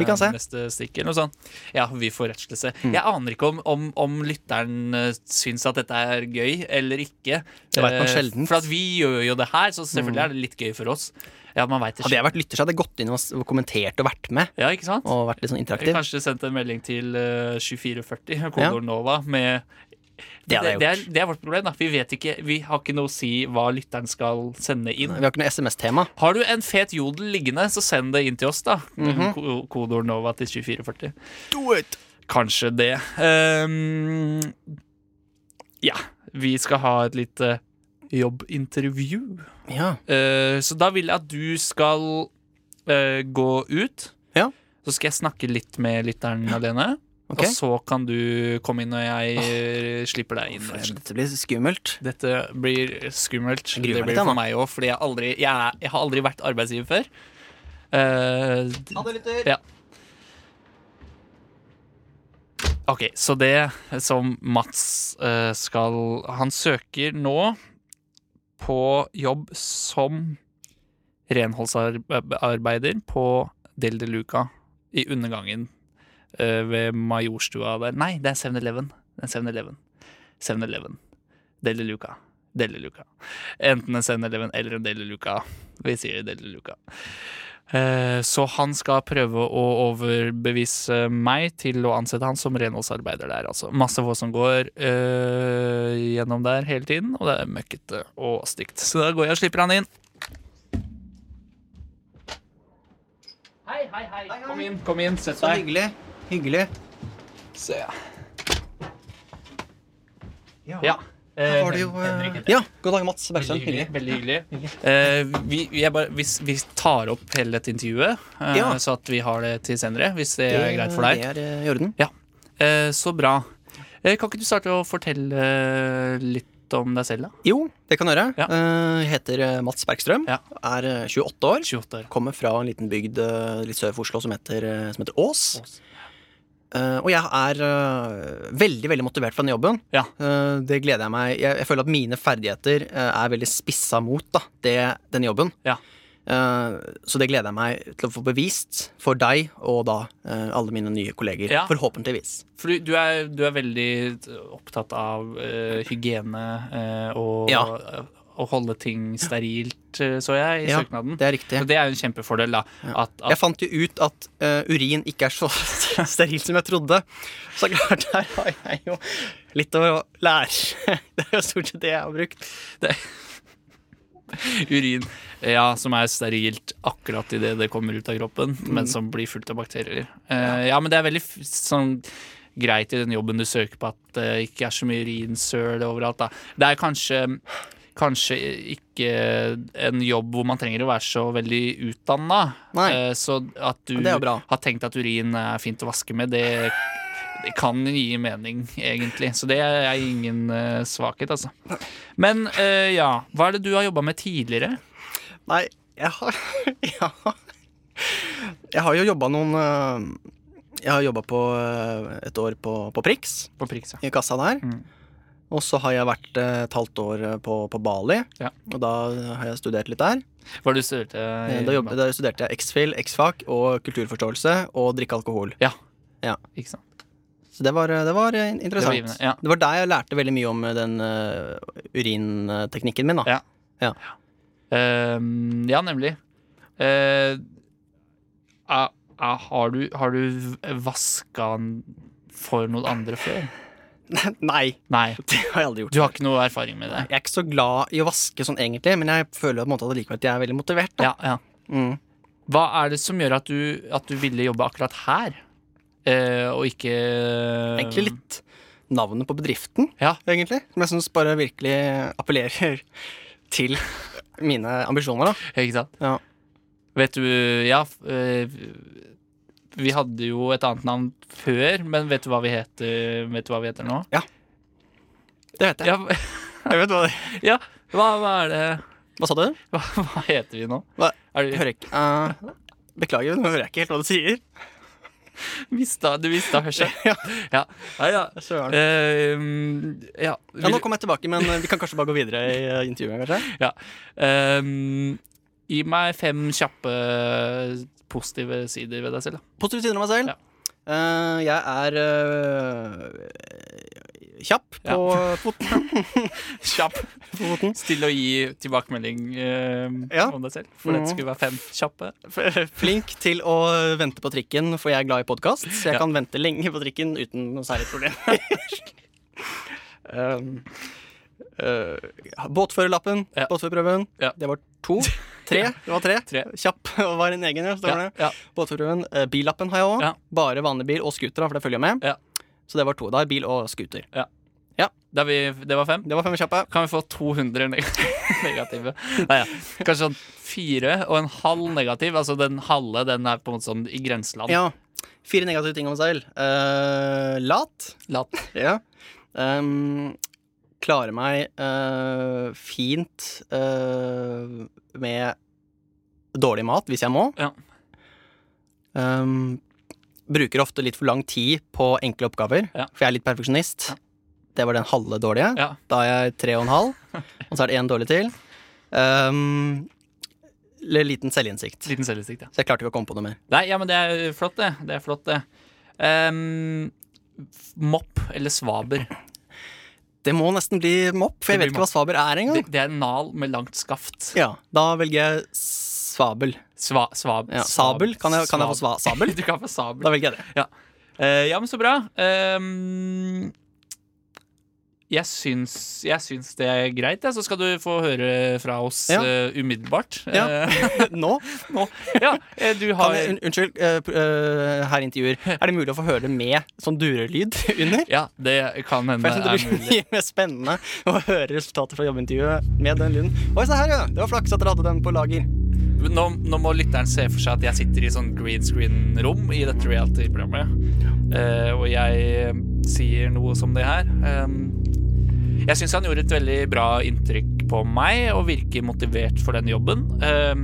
Vi kan se. Mm. neste stikk, eller noe sånt. Ja, vi får rettslelse. Jeg aner ikke om, om, om lytteren eh, syns at dette er gøy eller ikke. Det vet man Mm. Eh, sjelden. For at vi gjør jo det her, så selvfølgelig er det litt gøy for oss. Ja, man vet det Hadde jeg vært lytter, så hadde jeg gått inn og s- og kommentert og vært med. selv. Ja, ikke sant? Og vært litt sånn interaktiv. Kanskje sendt en melding til eh, 2440, Ja. Kodor Nova, med Det det, hadde jeg det, er, det er vårt problem, da. Vi vet ikke, vi har ikke noe å si hva lytteren skal sende inn. Vi har ikke noe SMS-tema. Har du en fet jodel liggende, så send det inn til oss, da. Mhm. Ko- Kodord Nova til 2440. Do it! Kanskje det. Ehm, ja. Vi skal ha et lite jobbintervju. Ja. Eh, så da vil jeg at du skal eh, gå ut. Ja. Så skal jeg snakke litt med lytteren alene. Ok. Og så kan du komme inn når jeg eh, slipper deg inn. For Dette blir skummelt. Dette blir skummelt. Jeg gruer Det meg litt, blir jeg, nå. for meg òg, fordi jeg, aldri, jeg, er- jeg har aldri vært arbeidsgiver før. Eh, d- Ja. OK, så det som Mats eh, skal Han søker nå på jobb som renholdsarbeider på Del de Luca i undergangen eh, ved Majorstua der. Nei, det er 7-Eleven. Det er 7-Eleven. 7-Eleven. Del de Luca. Del de Luca. Enten en 7-Eleven eller en Del de Luca. Vi sier Del de Luca. Eh, Så han skal prøve å overbevise meg til å ansette han som renholdsarbeider der. Altså. Masse folk som går eh, gjennom der hele tiden, og det er møkkete og stygt. Så da går jeg og slipper han inn. Hei, hei, hei. Kom inn, kom inn. Sett Så hyggelig. Hyggelig. Se. Ja. Her var det jo eh, Ja, god dag, Mats Bergstrøm. Veldig hyggelig. Hyggelig. Sånn, Veldig hyggelig. Eh, vi, jeg bare, hvis vi tar opp hele dette intervjuet, eh, Ja. så at vi har det til senere, hvis det er greit for deg. Det er eh, i orden. Eh, så bra. Eh, kan ikke du starte å fortelle eh, litt om deg selv, da? Jo, det kan jeg gjøre. Ja. Eh, heter eh, Mats Bergstrøm. Ja. Er eh, 28 år. 28 år. Kommer fra en liten bygd eh, litt sør for Oslo som heter, eh, som heter Ås. Ås. Eh, og jeg er eh, veldig veldig motivert for den jobben. Ja. Eh, det gleder jeg meg Jeg, jeg føler at mine ferdigheter eh, er veldig spissa mot da, det, den jobben. Ja. Eh, så det gleder jeg meg til å få bevist for deg og da eh, alle mine nye kolleger. Ja. Forhåpentligvis. For du, du, er, du er veldig opptatt av eh, hygiene eh, og Ja. å holde ting sterilt, eh, så jeg, i Ja, søknaden. Det er riktig. Og det er jo en kjempefordel, da. At, Jeg at, fant jo ut at eh, urin ikke er så sterilt som jeg trodde. Så klart, der har jeg jo litt å lære. Det er jo stort sett det jeg har brukt. urin ja, som er sterilt akkurat idet det kommer ut av kroppen, men som blir fullt av bakterier. Eh, ja, men det er veldig f- sånn greit i den jobben du søker på, at det ikke er så mye urinsøl overalt. Da. Det er kanskje Kanskje ikke en jobb hvor man trenger å være så veldig utdanna. Nei. Eh, Så at du Men det er jo bra. har tenkt at urin er fint å vaske med, det, det kan gi mening, egentlig. Så det er ingen eh, svakhet, altså. Men eh, ja, hva er det du har jobba med tidligere? Nei, jeg har Ja. Jeg har jo jobba noen eh, Jeg har jobba på eh, et år på, på Prix, På Prix, ja. i kassa der. Mm. Og så har jeg vært eh, et halvt år eh, på, på Bali, Ja. og da har jeg studert litt der. Hva er det du studerte? i- eh, Da, jobb, da studerte jeg X-Fil, X-Fag og kulturforståelse og drikke alkohol. Ikke sant? Så det var, det var eh, Det var interessant. givende. Ja. Det var der jeg lærte veldig mye om eh, den eh, urinteknikken min. da Ja. Ehm, ja, nemlig. Eh, ah, ah, har du, har du vaska den for noen andre før? Nei, Nei. det har jeg aldri gjort. Du har ikke noe erfaring med det? Jeg er ikke så glad i å vaske sånn egentlig, men jeg føler på en måte at likevel at jeg er veldig motivert. Da. Ja, ja. Mm. Hva er det som gjør at du, at du ville jobbe akkurat her, Eh, og ikke Egentlig litt navnet på bedriften, Ja. egentlig, som jeg syns bare virkelig appellerer til mine ambisjoner. da Ikke sant? Ja. Vet du Ja, f- eh, vi hadde jo et annet navn før, men vet du hva vi heter, vet du hva vi heter nå? Det vet jeg. Ja, jeg vet hva, det, hva, hva er det hva sa du? Hva, hva heter vi nå? Hva? Er Jeg du, hører ikke. Eh, beklager, nå hører jeg ikke helt hva du sier. mista, du mista hørselen? Ja. ja. ja, ja. Søren. Eh, mm, ja. Ja, Vil, nå kommer jeg tilbake, men eh, vi kan kanskje bare gå videre i eh, intervjuet. kanskje eh, gi meg fem kjappe positive sider ved deg selv. da. Positive sider av meg selv. Ja. Eh, jeg er eh, kjapp på foten. Kjapp. foten. Stille og gi tilbakemelding eh, Ja. om deg selv. For Mhm. det skulle være fem kjappe. F- Flink til å vente på trikken, for jeg er glad i podkast. Så jeg Ja. kan vente lenge på trikken uten noe særlig problem. um, eh, båtførerlappen, Ja. båtførerprøven. Ja. Det var to. Tre. Det var tre. Tre. Kjapp og var en egen, ja. Står det. ja. Båtførerprøven. Eh, billappen har jeg òg. Ja. Bare vanlig bil og scooter, da, for det følger jeg med. Ja. Så det var to. Da er bil og scooter. Da vi, det var fem. Det var fem kjappe. Kan vi få 200 neg negative? Nei, ja. Kanskje sånn fire og en halv negativ. Altså den halve den er på en måte sånn i grenseland. Ja. Fire negative ting om seg selv. Eh, lat. Lat. Ja. Um, klarer meg eh, fint eh, med dårlig mat, hvis jeg må. Ja. Um, bruker ofte litt for lang tid på enkle oppgaver, Ja. for jeg er litt perfeksjonist. Ja. Det var den halve dårlige. Ja. Da er jeg tre og en halv, og så er det én dårlig til. Um, eller liten selvinnsikt. Liten selvinnsikt, ja. Så jeg klarte ikke å komme på noe mer. Nei, ja, men det er flott, det. Det er flott, det. Ehm, f- mopp eller svaber. Det må nesten bli mopp, for jeg Det vet blir ikke hva svaber er engang. Det, det er en nal med langt skaft. Ja, da velger jeg svabel. Sva, svab, Ja. svab- Sabel? Kan jeg, kan jeg få sva sabel? Du kan få sabel. Da velger jeg det. Eh, ja, men så bra. Ehm, jeg syns, jeg syns det er greit, jeg. Så skal du få høre fra oss Ja. eh, umiddelbart. Ja. Eh, Nå? ja, eh, du har Kan jeg, un- unnskyld, eh, pr- eh, herr intervjuer. Er det mulig å få høre det med sånn durelyd under? Ja, det kan hende For jeg er synes det blir mulig. mye mer spennende å høre resultatet fra jobbintervjuet med den lyden. Oi, se her, ja! Det var flaks at dere hadde den på lager. Eh, Nå, nå må lytteren se for seg at jeg sitter i sånn green screen-rom i dette reality-programmet, Eh, og jeg sier noe som det her. Eh, jeg syns han gjorde et veldig bra inntrykk på meg, og virker motivert for den jobben. Eh,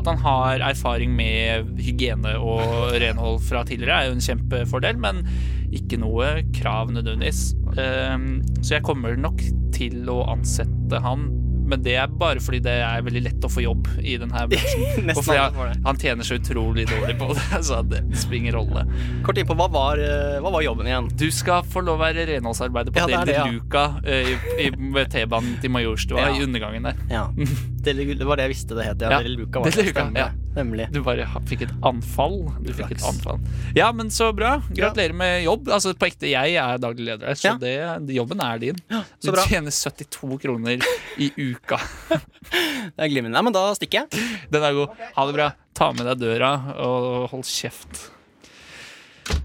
at han har erfaring med hygiene og renhold fra tidligere, er jo en kjempefordel, men ikke noe krav nødvendigvis. Eh, så jeg kommer nok til å ansette han. Men det er bare fordi det er veldig lett å få jobb i denne bransjen. Og Nesten fordi alle får det. han, han tjener så utrolig dårlig på det, så det spiller ingen rolle. Kort innpå, hva var, eh, hva var jobben igjen? Du skal få lov å være renholdsarbeider på Ja, det er Del det, ja. Luca eh, i, i, med T-banen til Majorstua Ja. i undergangen der. Ja. Det, det var det jeg visste det het. Ja. Ja. Del Luca var Del det. Luca, Stemmer. ja. Nemlig. Du bare ha- fikk et anfall. Du fikk et Flaks. anfall. Ja, men så bra. Ja. Gratulerer med jobb. Altså, på ekte, jeg er daglig leder her, så Ja. det, jobben er din. så Du bra. tjener 72 kroner i uka. Det er glimrende. Nei, men da stikker jeg. Den er god. Ha det bra. Ta med deg døra, og hold kjeft.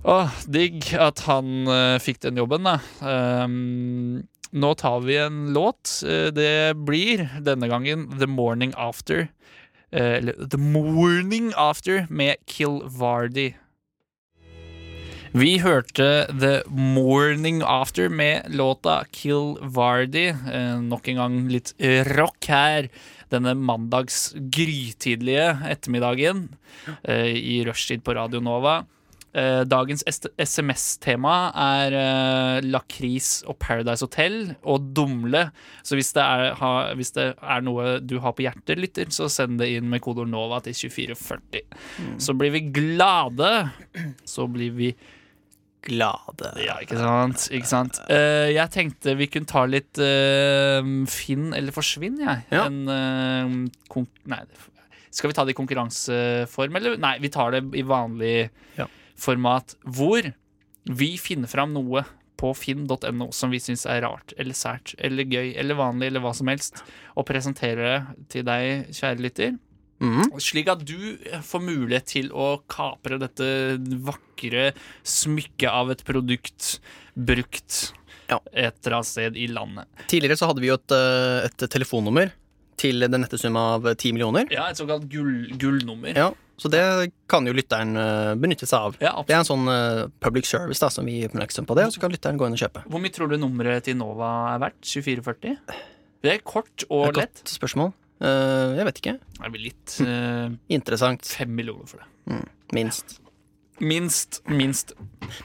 Åh, digg at han eh, fikk den jobben, da. Ehm, nå tar vi en låt. Eh, det blir denne gangen The Morning After. eh, eller The Morning After med Kill Vardy. Vi hørte The Morning After med låta Kill Vardy. Eh, nok en gang litt rock her denne mandags grytidlige ettermiddagen eh, i rushtid på Radio Nova. Eh, Eh, dagens SMS-tema er eh, lakris og Paradise Hotel og dumle. Så hvis det, er, ha, hvis det er noe du har på hjertet, lytter, så send det inn med kodeord NOVA til 2440. Så blir vi glade. Så blir vi Glade. Ja, ikke sant? Ikke sant? Eh, jeg tenkte vi kunne ta litt eh, finn eller forsvinn, jeg. Ja. En, eh, kon nei, det f- skal vi ta det i konkurranseform, eller? Nei, vi tar det i vanlig Ja. format. Hvor vi finner fram noe på finn.no som vi syns er rart eller sært eller gøy eller vanlig eller hva som helst, og presenterer det til deg, kjære lytter. Mhm. Slik at du eh, får mulighet til å kapre dette vakre smykket av et produkt brukt Ja. et eller annet sted i landet. Tidligere så hadde vi jo et, eh, et telefonnummer til den nette sum av ti millioner. Ja, et såkalt gull, gullnummer. Ja, så det kan jo lytteren eh, benytte seg av. Ja, absolutt. Det er en sånn eh, public service da, som vi er oppmerksom på det, og så kan lytteren gå inn og kjøpe. Hvor mye tror du nummeret til Nova er verdt? 2440? Det er kort Det er og et lett. godt spørsmål. Eh, jeg vet ikke. Det blir litt eh, Interessant. fem millioner for det. Minst. Minst. Minst.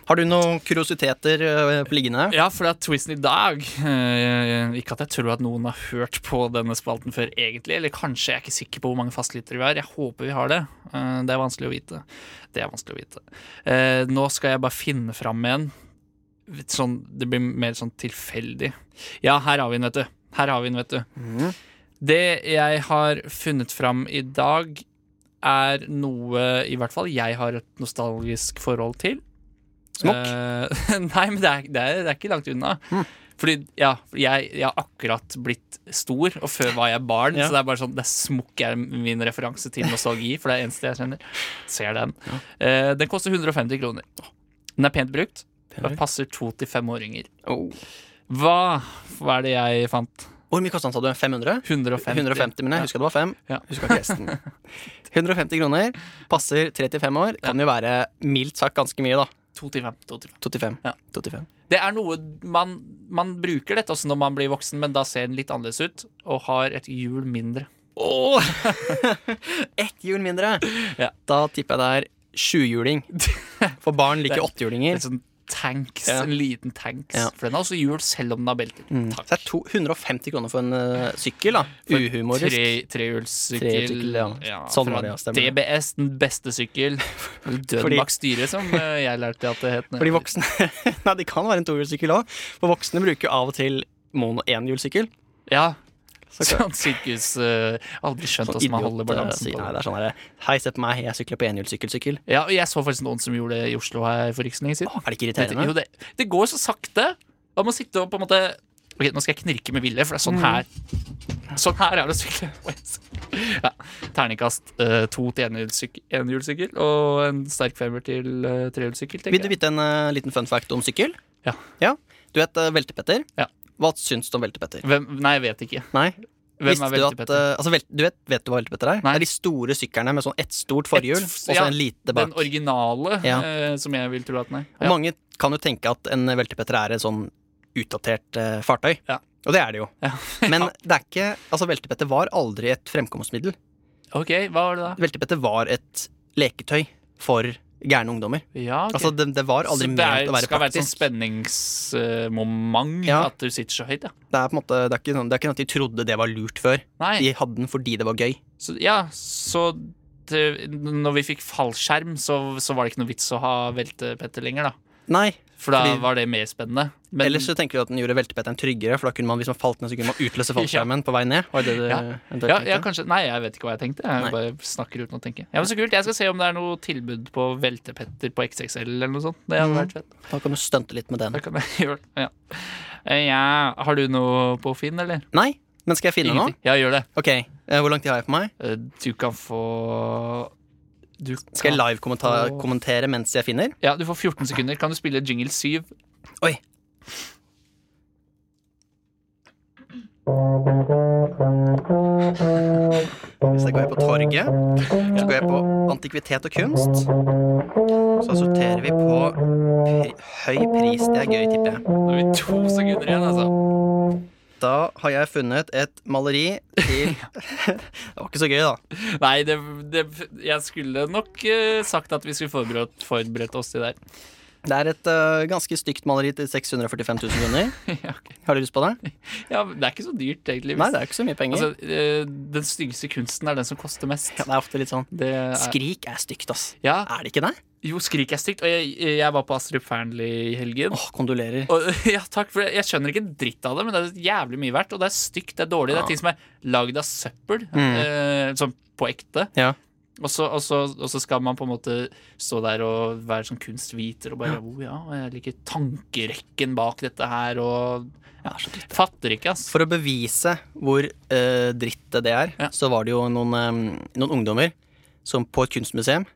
Har du noen kuriositeter eh, på liggende her? Ja, for det er twisten i dag. eh, Ikke at jeg tror at noen har hørt på denne spalten før, egentlig. Eller kanskje jeg er ikke sikker på hvor mange fastlyttere vi har. Jeg håper vi har det. Eh, Det er vanskelig å vite. Det er vanskelig å vite. Eh, Nå skal jeg bare finne fram en. Litt Sånn, det blir mer sånn tilfeldig. Ja, her har vi den, vet du. Her har vi den, vet du. Mhm. Det jeg har funnet fram i dag, er noe i hvert fall jeg har et nostalgisk forhold til. Smokk? Hm. Eh, nei, men det er, det, er, det er ikke langt unna. Fordi ja, jeg, jeg har akkurat blitt stor, og før var jeg barn. Ja. Så det er bare sånn, det er smokk er min referanse til nostalgi, for det er det eneste jeg kjenner. Ser den. Eh, den koster 150 kroner. Den er pent brukt. Pent Og brukt. passer to til femåringer. Oh. Hva var det jeg fant? Hvor mye kostet den, sa du? 500? 150. 150, men jeg husker det var 5. Ja. Husker ikke resten. 150 kroner, passer 35 år. Kan jo være mildt sagt ganske mye, da. To til fem, to til fem. 25. Ja. 25. Det er noe man, man bruker dette også når man blir voksen, men da ser den litt annerledes ut og har et hjul mindre. Åh! Ett hjul mindre. Ja. Da tipper jeg det er sjuhjuling. For barn Det liker er- åttehjulinger. Litt sånn tanks, Ja. En liten tanks. Ja. For den har også hjul selv om den har belter. Mm. Så det er to, 150 kroner for en eh, sykkel, da. Uhumorisk. Tre- Trehjulssykkel. Trehjulssykkel, ja. Sånn var det, ja, stemmer det. DBS, den beste sykkel. Dødbakk styre, som eh, jeg lærte at det het. når For de jeg- voksne Nei, det kan være en tohjulssykkel òg. For voksne bruker jo av og til mono enhjulssykkel. Ja, Så kan- sånn sykehus eh, Aldri skjønt sånn hvordan man holder idiot, eh, balansen sier- på Nei, det. det er sånn her Hei, se på meg, jeg sykler på enhjulssykkel-sykkel. Ja, og jeg så faktisk noen som gjorde det i Oslo her for ikke så lenge siden. Er det ikke Det, irriterende? jo, det, det går så sakte. Da må sitte og på en måte Ok, nå skal jeg knirke med vilje, for det Mm. er sånn her Sånn her er det å sykle. Ja, terningkast eh, to til enhjulssyk- enhjulssykkel og en sterk femmer til eh, trehjulssykkel. Vil du tenker jeg. vite en eh, liten fun fact om sykkel? Ja. Du vet eh, Velte-Petter? Ja. Hva syns du om Velte-Petter? Hvem, nei, jeg vet ikke. Nei? Hvem Visste er du Velte at, Petter? eh, altså, vel, du vet, vet du hva veltepetter er? Nei. Det er de store syklene med sånn ett stort forhjul Et og f- så ja, en lite bak. Den originale, Ja. eh, som jeg vil tro at nei. Og mange kan jo tenke at en veltepetter er et sånn utdatert eh, fartøy. Ja. Og det er det jo. Ja. Men det er ikke Altså, veltepetter var aldri et fremkomstmiddel. OK, hva var det da? Veltepetter var et leketøy for gærne ungdommer. Ja, ok. Altså, det, det var aldri så det er, ment å være skal være sånn et sånt praktisk. spenningsmoment Ja. at du sitter så høyt, ja. det, er på en måte, det, er ikke, sånn- det er ikke sånn at de trodde det var lurt før. Nei. De hadde den fordi det var gøy. Så, ja, så det, når vi fikk fallskjerm, så, så var det ikke noe vits å ha veltepetter lenger, da. Nei, For da Fordi- var det mer spennende. Men Ellers så tenker du at den gjorde veltepetteren tryggere, for da kunne man, hvis man falt ned, så kunne man utløse fallskjermen på vei ned. Var det det du Ja. eventuelt ja, tenkte? ja, kanskje, Nei, jeg vet ikke hva jeg tenkte. Jeg Nei. bare snakker uten å tenke. Ja, men Så kult. Jeg skal se om det er noe tilbud på veltepetter på XXL eller noe sånt. Det hadde Mhm. vært fett. Da kan du stunte litt med den. Da kan jeg gjøre det. Ja. Eh, ja. Har du noe på Finn, eller? Nei, men skal jeg finne noe? Ja, gjør det. Ok, eh, Hvor lang tid har jeg på meg? Eh, Du kan få du kan, Skal jeg Åh. live-kommentere mens jeg finner? Ja, du får 14 sekunder. Kan du spille jingle 7? Oi. Hvis jeg går på torget, så går jeg på antikvitet og kunst. Så sorterer vi på pri høy pris. Det er gøy, tipper jeg. Nå har vi to sekunder igjen, altså. Da har jeg funnet et maleri til Det var ikke så gøy, da. Nei, det, det, jeg skulle nok eh, sagt at vi skulle forberedt, forberedt oss til det. her. Det er et øh, ganske stygt maleri til 645 000 kroner. Ja, Har du lyst på det? Ja, men det er ikke så dyrt, egentlig. Nei, det er ikke så mye penger. altså, eh, den styggeste kunsten er den som koster mest. ja, det er ofte litt sånn Det er, Skrik er stygt, ass. ja, Er det ikke det? jo, skrik er stygt. Og jeg, jeg var på Astrup Fearnley i helgen. Åh, kondolerer. Og, ja, takk for det. Jeg skjønner ikke en dritt av det, men det er jævlig mye verdt. Og det er stygt, det er dårlig. Det Ja. Mm. er ting som er lagd av søppel, eh, sånn på ekte. Ja. Og så, og, så, og så skal man på en måte stå der og være sånn kunstviter og bare oh, ja, og jeg liker tankerekken bak dette her og ja, Fatter ikke, ass. For å bevise hvor eh, dritt det er, Ja. så var det jo noen, eh, noen ungdommer som på et kunstmuseum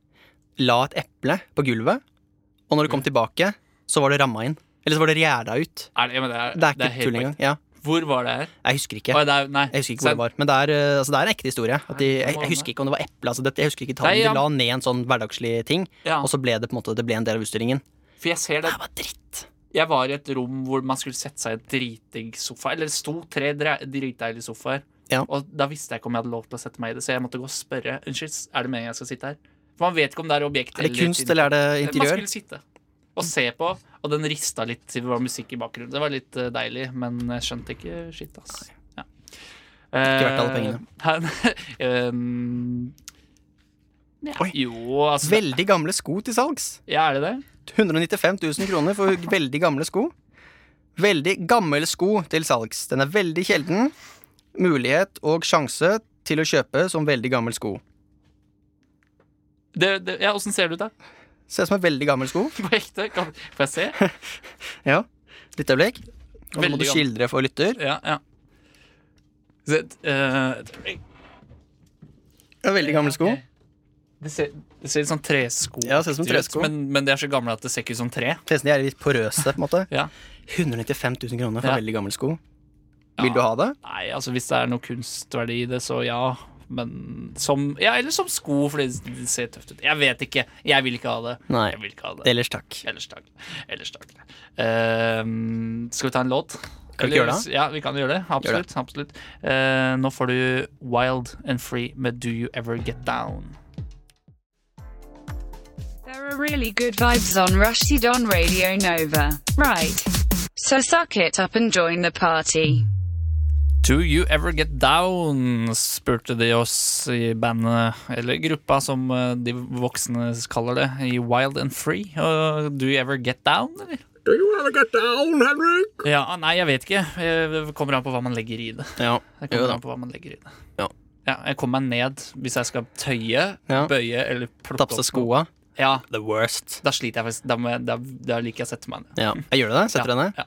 la et eple på gulvet, og når det kom tilbake, så var det ramma inn. Eller så var det gjæra ut. Er det, ja, men det, er, Det er det ikke er helt tull engang. Ja. korrekt. Hvor var det her? Jeg husker ikke. Å, det er, nei. Jeg husker ikke hvor det var. Men det er, eh, altså, det er en ekte historie. At de, jeg, jeg husker ikke om det var eple. Altså, det, jeg husker ikke Nei, tallene. ja. De la ned en sånn hverdagslig ting, Ja, og så ble det på en måte Det ble en del av utstillingen. for jeg ser det Det var dritt. Jeg var i et rom hvor man skulle sette seg i en dritdigg sofa. Eller det sto tre dre- dritdeilige sofaer. Ja. Og da visste jeg ikke om jeg hadde lov til å sette meg i det, så jeg måtte gå og spørre. Unnskyld, er det meningen jeg skal sitte her? For man vet ikke om det er objekt Er det kunst, eller er det Man interiør? skulle sitte og se på, og den rista litt til det var musikk i bakgrunnen. Det var litt eh, deilig, men jeg skjønte ikke shit, ass. Ja. Eh, verdt alle pengene. Oi. ehm, Jo, altså Veldig gamle sko til salgs. Ja, er det det? 195 000 kroner for veldig gamle sko. Veldig gammel sko til salgs. Den er veldig sjelden. Mulighet og sjanse til å kjøpe som veldig gammel sko. det, det ja, åssen ser det ut, da? Ser ut som en veldig gammel sko. På ekte? Kan, får jeg se? Ja. Litt øyeblikk. Og så må Veldig du gammel. skildre for lytter. Ja, ja. Se, eh, Ja, veldig gamle sko. ok. Det ser, det ser litt sånn tresko Ja, det ser ut som tresko. men, men de er så gamle at det ser ikke ut som tre. Forresten, de er litt porøse, på en måte. Ja. 195 000 kroner for Ja. veldig gammel sko. Vil du ha det? Nei, altså Hvis det er noe kunstverdi i det, så ja. Men som Ja, eller som sko, for det det ser tøft ut. Jeg vet ikke. Jeg vil ikke ha det. Nei. Jeg vil ikke ha det. Ellers takk. Ellers takk. Ellers takk. Ehm, skal vi ta en låt? Kan vi ikke gjøre det? Ja, vi kan gjøre det. Absolutt. absolutt. Eh, nå får du Wild and Free med Do You Ever Get Down. There are really good vibes on Rushdie on Radio Nova, right? So suck it up and join the party. Do you ever get down? spurte de oss i bandet, eller gruppa som eh, de voksne kaller det, i Wild and Free. Og do you ever get down, eller? Do you ever get down, Henrik? Ja, ah, Nei, jeg vet ikke. Eh, Det kommer an på hva man legger i det. Ja. Det Jo kommer da. an på hva man legger i det. Ja. jeg kommer meg ned hvis jeg skal tøye, Ja. bøye eller plukke Tapse opp noe. skoa. Ja, The worst. da sliter jeg faktisk. Da, må jeg, da, da liker jeg å sette meg ned. Ja, jeg gjør det det? Setter du Ja, deg ned? ja.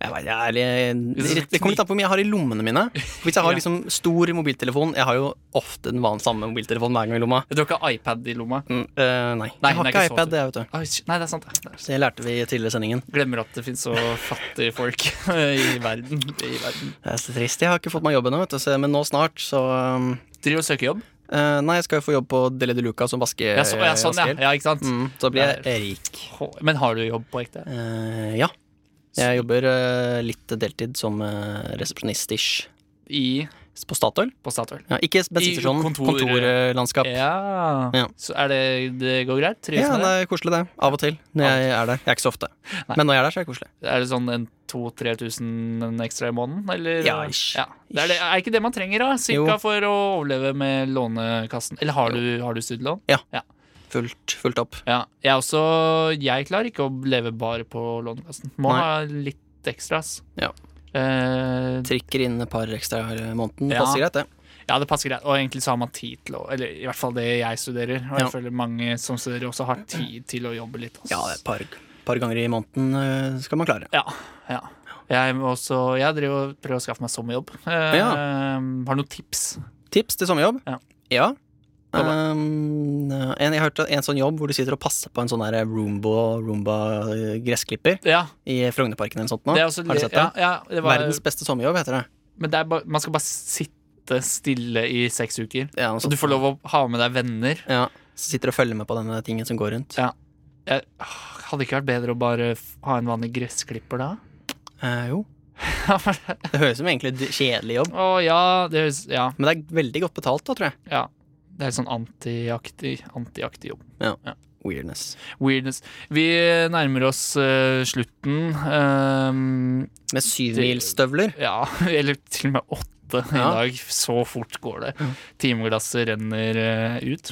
Jeg vet, jeg er litt, det kommer litt an på hvor mye jeg har i lommene mine. Hvis jeg har Ja. liksom stor mobiltelefon Jeg har jo ofte den van- samme mobiltelefonen hver gang i lomma. Jeg tror ikke iPad i lomma. Mm, eh, nei. Nei, jeg den er har ikke ikke så iPad, det, vet du. Oi, shit. nei, det er sant. Det er Så det lærte vi i tidligere sendingen. Glemmer at det finnes så fattige folk i verden. I verden. Det er så trist. Jeg har ikke fått meg jobb ennå, vet du, så- men nå snart, så um, Driver og søker jobb? eh, Nei, jeg skal jo få jobb på Deli de Luca som vaske, Ja, så, ja, sånn, ja. vaskehjelp. ja ikke sant? Mm, så blir jeg rik. Hå- Men har du jobb på ekte? Eh, ja. Jeg jobber eh, litt deltid som uh, resepsjonist-ish I på Statoil. På Statoil? Ja, ikke bensinstasjonen, kontor- kontorlandskap. Ja. Ja. Så er det Det går greit? Trives Ja, med det det? er koselig, det. Av og til. Når Av og jeg er der. Jeg er ikke så ofte. Nei. Men når jeg er der, så er det koselig. Er det sånn en 2000-3000 ekstra i måneden, eller? Ja, ish. Ja. Det er, det, er ikke det man trenger, da? Jo. Cirka for å overleve med Lånekassen. Eller har du, har du studielån? Fullt, fullt opp. Ja. Jeg også Jeg klarer ikke å leve bare på Lånekassen. Må Nei. ha litt ekstra, ass. Ja. Eh, Trykker inn et par ekstra i måneden. Ja. Passer greit, det. Ja, det passer greit. Og egentlig så har man tid til å Eller i hvert fall det jeg studerer. Og jeg Ja. føler mange som studerer, også har tid til å jobbe litt. ass. Ja, et par, par ganger i måneden eh, øh, skal man klare. ja, ja. Jeg, må også, jeg driver og prøver å skaffe meg sommerjobb. Eh, Ja. Har noen tips? Tips til sommerjobb? Ja. Ja. Hva Um, en, jeg hørte en sånn jobb hvor du sitter og passer på en sånn der Roomba, Roomba øh, gressklipper Ja, i Frognerparken eller noe sånt. Nå. det er også, Har du sett det? Ja, ja, det var, Verdens beste sommerjobb heter det. men det er bare, man skal bare sitte stille i seks uker. Ja, noe Og du sånt. får lov å ha med deg venner. Ja. Så sitter du og følger med på denne tingen som går rundt. Ja. Jeg, åh, hadde det ikke vært bedre å bare f- ha en vanlig gressklipper da? Eh, jo. Det høres ut som egentlig en kjedelig jobb, Å ja, det høres Ja. men det er veldig godt betalt da, tror jeg. ja. Det er litt sånn antiaktig antiaktig jobb. Weirdness. Weirdness. Vi nærmer oss eh, slutten. Ehm, Med syvmilsstøvler. Ja, eller til og med åtte i Ja. dag. Så fort går det. Timeglasset renner eh, ut.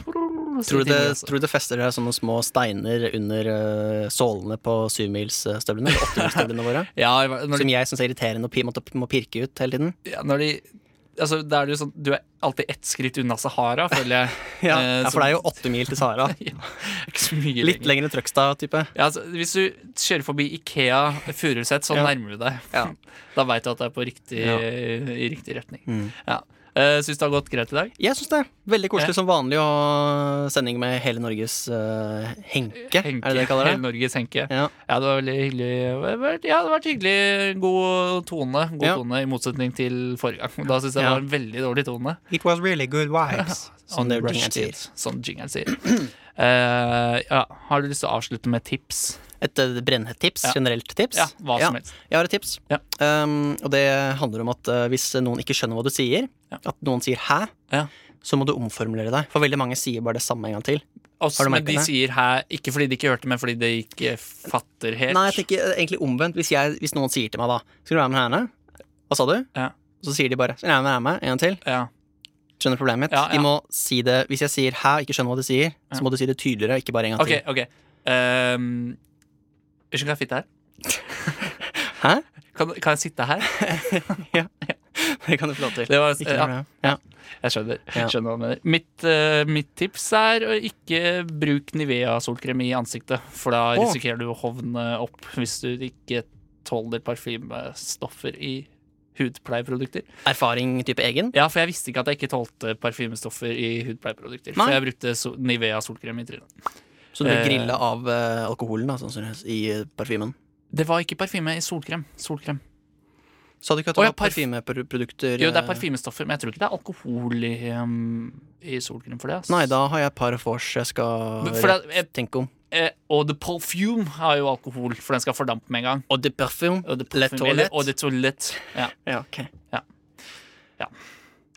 Tror du, det, tror du det fester seg sånne små steiner under eh, sålene på syvmilsstøvlene? Eller åttemilsstøvlene våre? Ja, i hver- når Som de, jeg syns er irriterende å pi- måtte, må pirke ut hele tiden. ja, når de Altså, da er det jo sånn, Du er alltid ett skritt unna Sahara, føler jeg. Ja, Eh, for det er jo åtte mil til Sahara. Ja, ikke så mye Litt lenger. lengre Trøgstad-type. Ja, altså, hvis du kjører forbi Ikea Furuset, så Ja. nærmer du deg. Ja. Da veit du at det er på riktig, Ja. i riktig retning. Mm. Ja. Eh, Syns det har gått greit i dag? Jeg syns det. Veldig koselig som vanlig å ha sending med hele Norges eh, Henke, er det det de kaller Hele det? Norges Henke. Ja. Ja, det var veldig hyggelig. Det har vært- Ja, det har vært hyggelig. God tone, god Ja. tone i motsetning til forrige gang. Da syns jeg Ja. det var en veldig dårlig tone. It was really good vibes. Som det Rushdie, Rush sier. Som jingeren sier. Eh, ja. Har du lyst til å avslutte med tips? Et eh, brennetips, Ja. generelt tips. Ja, hva som helst. Jeg har et tips, Ja. um, og det handler om at eh, hvis noen ikke skjønner hva du sier, Ja. at noen sier 'hæ', Ja. så må du omformulere deg. For veldig mange sier bare det samme en gang til. Også, Har du men merket de det? sier her, ikke fordi de ikke hørte, men fordi de ikke fatter helt. Nei, jeg tenker eh, egentlig omvendt. Hvis, jeg, hvis noen sier til meg da 'Skal du være med henne?' Hva sa du? Ja. Så sier de bare 'Skal du være med henne?' En gang til. ja. Skjønner du problemet mitt? Ja, ja. De må si det Hvis jeg sier 'hæ' og ikke skjønner hva du sier, Ja. så må du si det tydeligere, ikke bare en gang OK, OK. Um, Unnskyld, kan jeg fitte her? til. Hæ? Kan, kan jeg sitte her? Det kan du få lov til. Det var, ja, Ikke noe problem. ja. Jeg skjønner. Ja. skjønner hva du mener. Mitt, eh, mitt tips er å ikke bruk Nivea-solkrem i ansiktet. For da Å. risikerer du å hovne opp hvis du ikke tåler parfymestoffer i hudpleieprodukter. Erfaring type egen? Ja, for jeg visste ikke at jeg ikke tålte parfymestoffer i hudpleieprodukter. Nei. For jeg brukte so Nivea-solkrem i trynet. Så du blir Eh. grilla av eh, alkoholen da, sannsynligvis, i eh, parfymen? Det var ikke parfyme i solkrem. solkrem. Sa du ikke at Å, ja, det var parfymeprodukter? Jo, det er eh, parfymestoffer, men jeg tror ikke det er alkohol i, um, i solkrem for det. ass. Nei, da har jeg et par vors jeg skal Men For det, eh, tenke om. eh, og The Perfume har jo alkohol, for den skal fordampe med en gang. Og de parfyme. Og det Le toilette. Og det toalett. Ja. Ja, ok.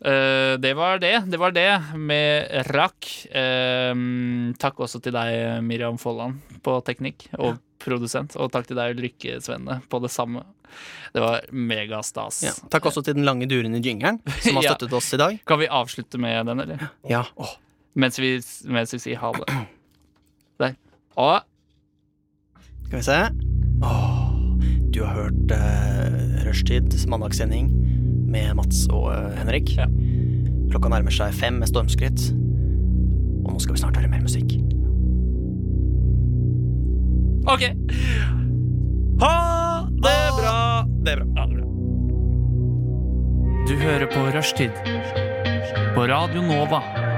Eh, det var det. Det var det med rakk. Eh, takk også til deg, Miriam Folland, på teknikk og produsent. Og takk til deg, Ulrikke Svenne, på det samme. Det var megastas. Ja. Takk også til den lange duren i jingeren, som har Ja. støttet oss i dag. Kan vi avslutte med den, eller? Ja, åh. Mens vi, mens vi sier ha det. Der. Og Skal vi se. Åh, du har hørt uh, Rushtids mandagssending med Mats og eh, Henrik. Ja. Klokka nærmer seg fem med stormskritt. Og nå skal vi snart høre mer musikk. OK! Ha det bra! Det er bra. Ha det bra. Du hører på Rushtid på Radio Nova.